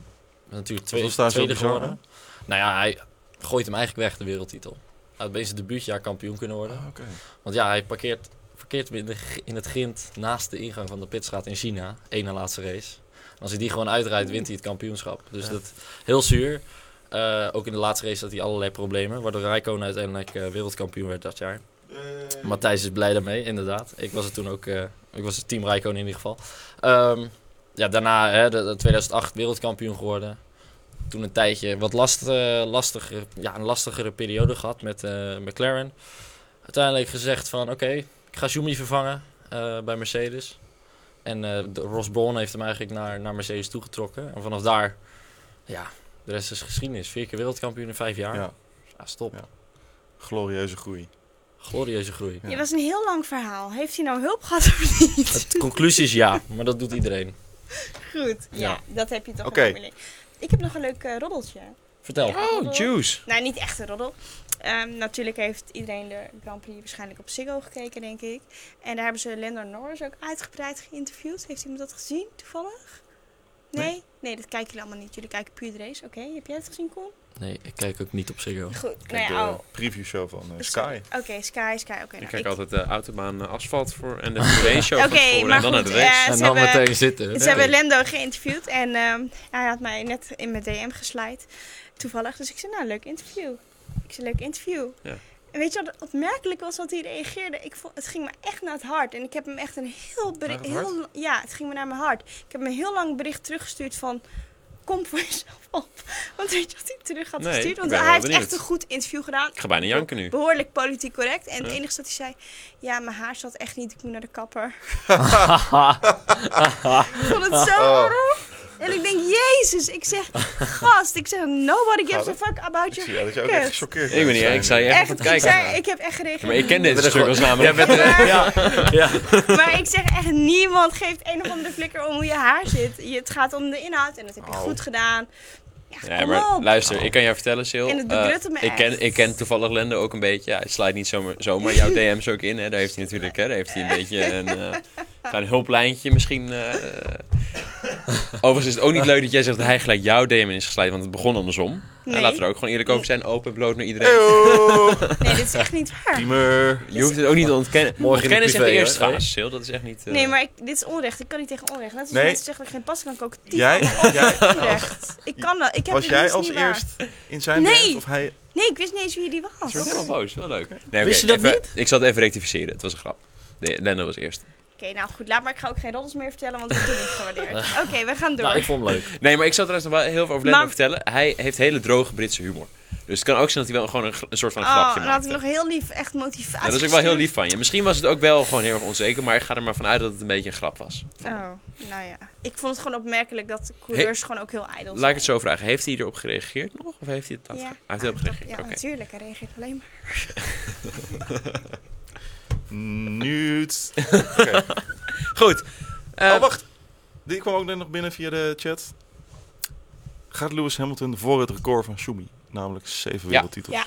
natuurlijk twee, was daar zo tweede bizar geworden. Nou ja, hij gooit hem eigenlijk weg, de wereldtitel. Hij had bij zijn debuutjaar kampioen kunnen worden. Ah, Oké. Want ja, hij parkeert, parkeert hem in, de g- in het grind naast de ingang van de pitstraat in China. Eén na laatste race. En als hij die gewoon uitrijdt, wint hij het kampioenschap. Dus dat heel zuur. Eh, ook in de laatste race had hij allerlei problemen. Waardoor Rijkoon uiteindelijk eh, wereldkampioen werd dat jaar. Matthijs is blij daarmee, inderdaad. Ik was er toen ook... eh, ik was het team Rijkoon in ieder geval. Ehm, ja, daarna hè, de, de 2008 wereldkampioen geworden. Toen een tijdje wat last, eh, lastiger, ja, een lastigere periode gehad met eh, McLaren uiteindelijk gezegd van oké, ik ga Schumi vervangen eh, bij Mercedes. En eh de- Ross Brawn heeft hem eigenlijk naar, naar Mercedes toegetrokken. En vanaf daar, ja, de rest is geschiedenis. Vier keer wereldkampioen in vijf jaar. Ja, Ja, stop. Ja. glorieuze groei. Glorieuze groei. Ja. Je was een heel lang verhaal. Heeft hij nou hulp gehad of niet? Het conclusie is ja, maar dat doet iedereen. Goed, ja, Ja. dat heb je toch Oké. in Formule 1. Ik heb nog een leuk eh, roddeltje. Vertel. Oh, juice. Nou, niet echt een roddel. Ehm, natuurlijk heeft iedereen de Grand Prix waarschijnlijk op Ziggo gekeken, denk ik. En daar hebben ze Lando Norris ook uitgebreid geïnterviewd. Heeft iemand dat gezien, toevallig? Nee? Nee, dat kijken jullie allemaal niet. Jullie kijken puur de race. Oké, heb jij het gezien, Koen? Nee, ik kijk ook niet op Ziggo. Goed. Kijk, nou de ja, oh, preview show van eh, Sky. sorry. Oké, Sky, Sky. Oké, eh, Ik nou, kijk ik- altijd de autobaan eh, asfalt voor en de Formule show Oké, van tevoren maar en dan goed, naar de race. eh, En ze dan hebben- meteen zitten. Ze hebben Lendo geïnterviewd en ehm, hij had mij net in mijn DM geslijt. Toevallig. Dus ik zei, nou, leuk interview. Ik zei, leuk interview. Ja. En weet je wat opmerkelijk was dat hij reageerde? Ik vond, het ging me echt naar het hart. En ik heb hem echt een heel Naar bericht... het hart? Heel, ja, het ging me naar mijn hart. Ik heb hem een heel lang bericht teruggestuurd van... kom voor jezelf op. Want weet je wat hij terug had Nee, ik gestuurd? Want ben hij wel heeft benieuwd. echt een goed interview gedaan. Ik ga bijna janken nu. Behoorlijk politiek correct. En het Ja. enige dat hij zei, ja, mijn haar zat echt niet, ik moet naar de kapper. ik vond het zo Oh. erg. En ik denk, jezus, ik zeg, gast, ik zeg, nobody gives a Gaat fuck about Ik your zie wel dat je ook haircut. echt gechoqueerd Ik weet niet, bent. ik zei echt, Echt, even ik, kijken. zei, ik heb echt gereageerd. maar ik ken dit bent stuk gewoon- als namelijk. ja, ja. Maar ik zeg echt, niemand geeft een of andere flikker om hoe je haar zit. Je, het gaat om de inhoud en dat heb je goed gedaan. Ja, Ja, kom maar op. luister, ik kan jou vertellen, Sil. En het eh, bedrukt me ik, ken, echt. ik ken toevallig Lende ook een beetje. Ja, hij slijt niet zomaar, zomaar jouw DM's ook in. Hè. Daar heeft hij natuurlijk hè, daar heeft hij een beetje een eh, klein hulplijntje misschien. eh. Overigens is het ook niet leuk dat jij zegt dat hij gelijk jouw DM in is geslijt, want het begon andersom. Eh, Nee. laten we er ook gewoon eerlijk over zijn, open en bloot naar iedereen. Eyo, Nee, dit is echt niet waar. Timmer. Je hoeft het ook niet te ontkennen. Morgen in de ontkennen is echt de privé, eerste hoor. fase, Sil. Dat is echt niet... eh, Nee, maar ik, dit is onrecht. Ik kan niet tegen onrecht. Net als Nee. mensen zeggen dat ik geen pas kan koken. Die Jij- jij- onrecht. Ik kan dat. Ik heb Was dit jij niet als niet waar. eerst in zijn Nee. band? Of hij... Nee, ik wist niet eens wie die was. Ik ben Oké, helemaal boos, wel leuk. Nee, Wist oké, je dat even- Ik zal het even rectificeren, het was een grap. Nee, Lende was eerst. nou goed. Laat maar. Ik ga ook geen roddels meer vertellen, want ik doe niet gewaardeerd. Oké, we gaan door. Nou, ik vond hem leuk. Nee, maar ik zal trouwens nog wel heel veel over Lendo Maar- vertellen. Hij heeft hele droge Britse humor. Dus het kan ook zijn dat hij wel gewoon een, gr- een soort van oh, grapje en dan had maakt. ik nog heel lief echt motivatie. dat is ook wel heel lief van je. Misschien was het ook wel gewoon heel erg onzeker, maar ik ga er maar vanuit dat het een beetje een grap was. gestuurd. Oh, nou ja. Ik vond het gewoon opmerkelijk dat coureurs gewoon ook heel ijdel Laat ik het zo vragen. Heeft hij erop gereageerd nog? Of heeft hij het Ja. afge- Hij heeft erop gereageerd, Ja, oké. natuurlijk. Hij reageert alleen maar. Nuut. Eh, Goed. Eh, oh, wacht. Die kwam ook net nog binnen via de chat. Gaat Lewis Hamilton voor het record van Schumi? Namelijk 7 wereldtitels. Ja.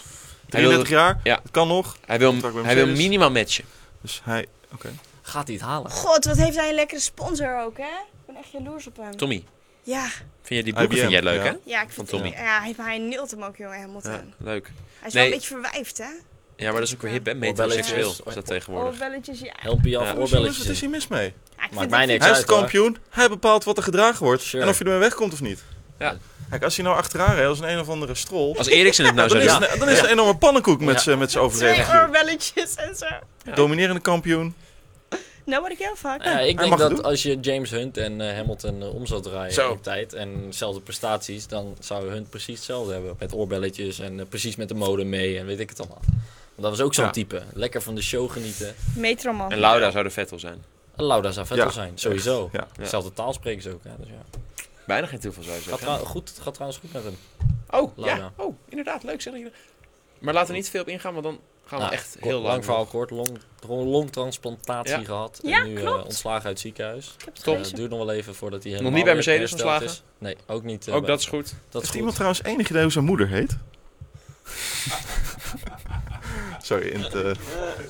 33 jaar. ja. Het kan nog. hij wil, Contact bij hij wil Mercedes. minimaal matchen. Dus hij... Oké. Gaat hij het halen? God, wat heeft hij een lekkere sponsor ook, hè? Ik ben echt jaloers op hem. Tommy, Ja, vind jij die boeken IBM, vind jij leuk, ja. hè? ja, ik Van vind Tommy. Ja, hij heeft maar hij neelt hem ook, jongen, Hamilton. Ja. Leuk. Hij Nee. is wel een beetje verwijfd, hè? Ja, maar dat is ook weer hip, hè? Oorbelletjes. Metroseksueel is dat tegenwoordig. Oorbelletjes, ja. Help je af, Ja. Wat is oorbelletjes in. hier mis mee? Ja, ik Maakt vind mij het- niks Hij is uit, de hoor. kampioen. Hij bepaalt wat er gedragen wordt. Sure. En of je ermee wegkomt of niet. Ja. Kijk, als hij nou achteraan reed als een een of andere strol... Als Eriksen het nou Dan zou is, doen. het een- dan is het een enorme pannenkoek met zijn met zijn Twee overdreven gedoe. oorbelletjes en zo. Dominerende kampioen. Nobody can fuck. Ja, ik mag denk het dat doen. als je James Hunt en eh, Hamilton eh, om zou draaien Zo. op tijd en dezelfde prestaties, dan zou Hunt precies hetzelfde hebben. Met oorbelletjes en eh, precies met de mode mee en weet ik het allemaal. Want dat was ook zo'n Ja. type. Lekker van de show genieten. Metroman. En Lauda zou de Vettel zijn. En Lauda zou vet Ja, wel zijn, sowieso. Ja. Dezelfde taal spreken ze ook. Hè? Dus ja. Bijna geen toeval zou je gaat zeggen. trouw- goed, het gaat trouwens goed met hem. Oh, Lauda. ja. Oh, inderdaad. Leuk zeg je. Maar laten we niet te veel op ingaan, want dan gaan we Nou, echt kort- heel lang. verhaal kort. Long, gewoon longtransplantatie Ja. gehad. Ja, en nu eh, klopt. ontslagen uit het ziekenhuis. Ik heb het Top. Eh, het duurt nog wel even voordat hij helemaal niet bij weer Mercedes hersteld ontslagen? is. Nee, ook niet. eh, Ook bij- dat is goed. dat is Heeft goed. iemand trouwens enig idee hoe zijn moeder heet? Sorry, in het, eh,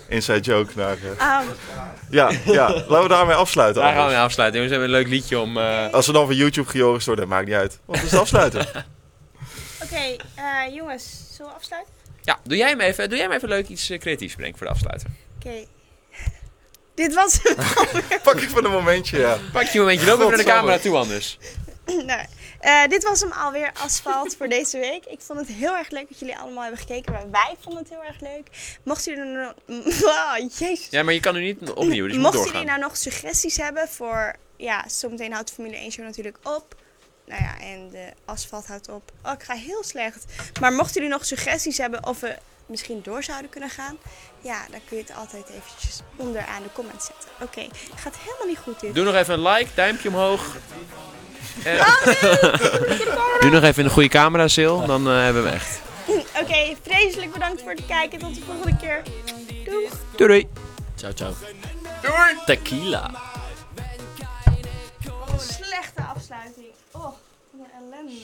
inside joke. Naar, eh, Ah, ja, ja, laten we daarmee afsluiten. Daar gaan we anders. mee afsluiten. jongens. We hebben een leuk liedje om. eh, Als we dan van YouTube gejorgd worden, maakt niet uit. Want we is afsluiten. Oké, eh, jongens, zullen we afsluiten? Ja, doe jij hem even, doe jij hem even leuk iets eh, creatiefs brengen voor de afsluiter. Oké. Dit was hem. Pak even een momentje, ja. Pak je momentje, loop even naar de Godsamme. camera toe anders. nou, eh, dit was hem alweer, Asfalt, voor deze week. Ik vond het heel erg leuk dat jullie allemaal hebben gekeken. Maar wij vonden het heel erg leuk. Mochten jullie er nog... Oh, jezus. Ja, maar je kan nu niet opnieuw, dus je moet Mochten doorgaan. jullie nou nog suggesties hebben voor... Ja, zometeen houdt Formule 1 Show natuurlijk op. Nou ja, en de asfalt houdt op. Oh, ik ga heel slecht. Maar mochten jullie nog suggesties hebben of we misschien door zouden kunnen gaan... Ja, dan kun je het altijd eventjes onderaan de comments zetten. Oké, gaat helemaal niet goed dit. Doe nog even een like, duimpje omhoog. En- Oh, Doe nog even een goede camera, Sil, dan eh, hebben we hem echt. Oké, vreselijk bedankt voor het kijken. Tot de volgende keer. Doeg! Doei doei. Ciao, ciao. Tequila. Oh, slechte afsluiting. Oh, wat een ellende.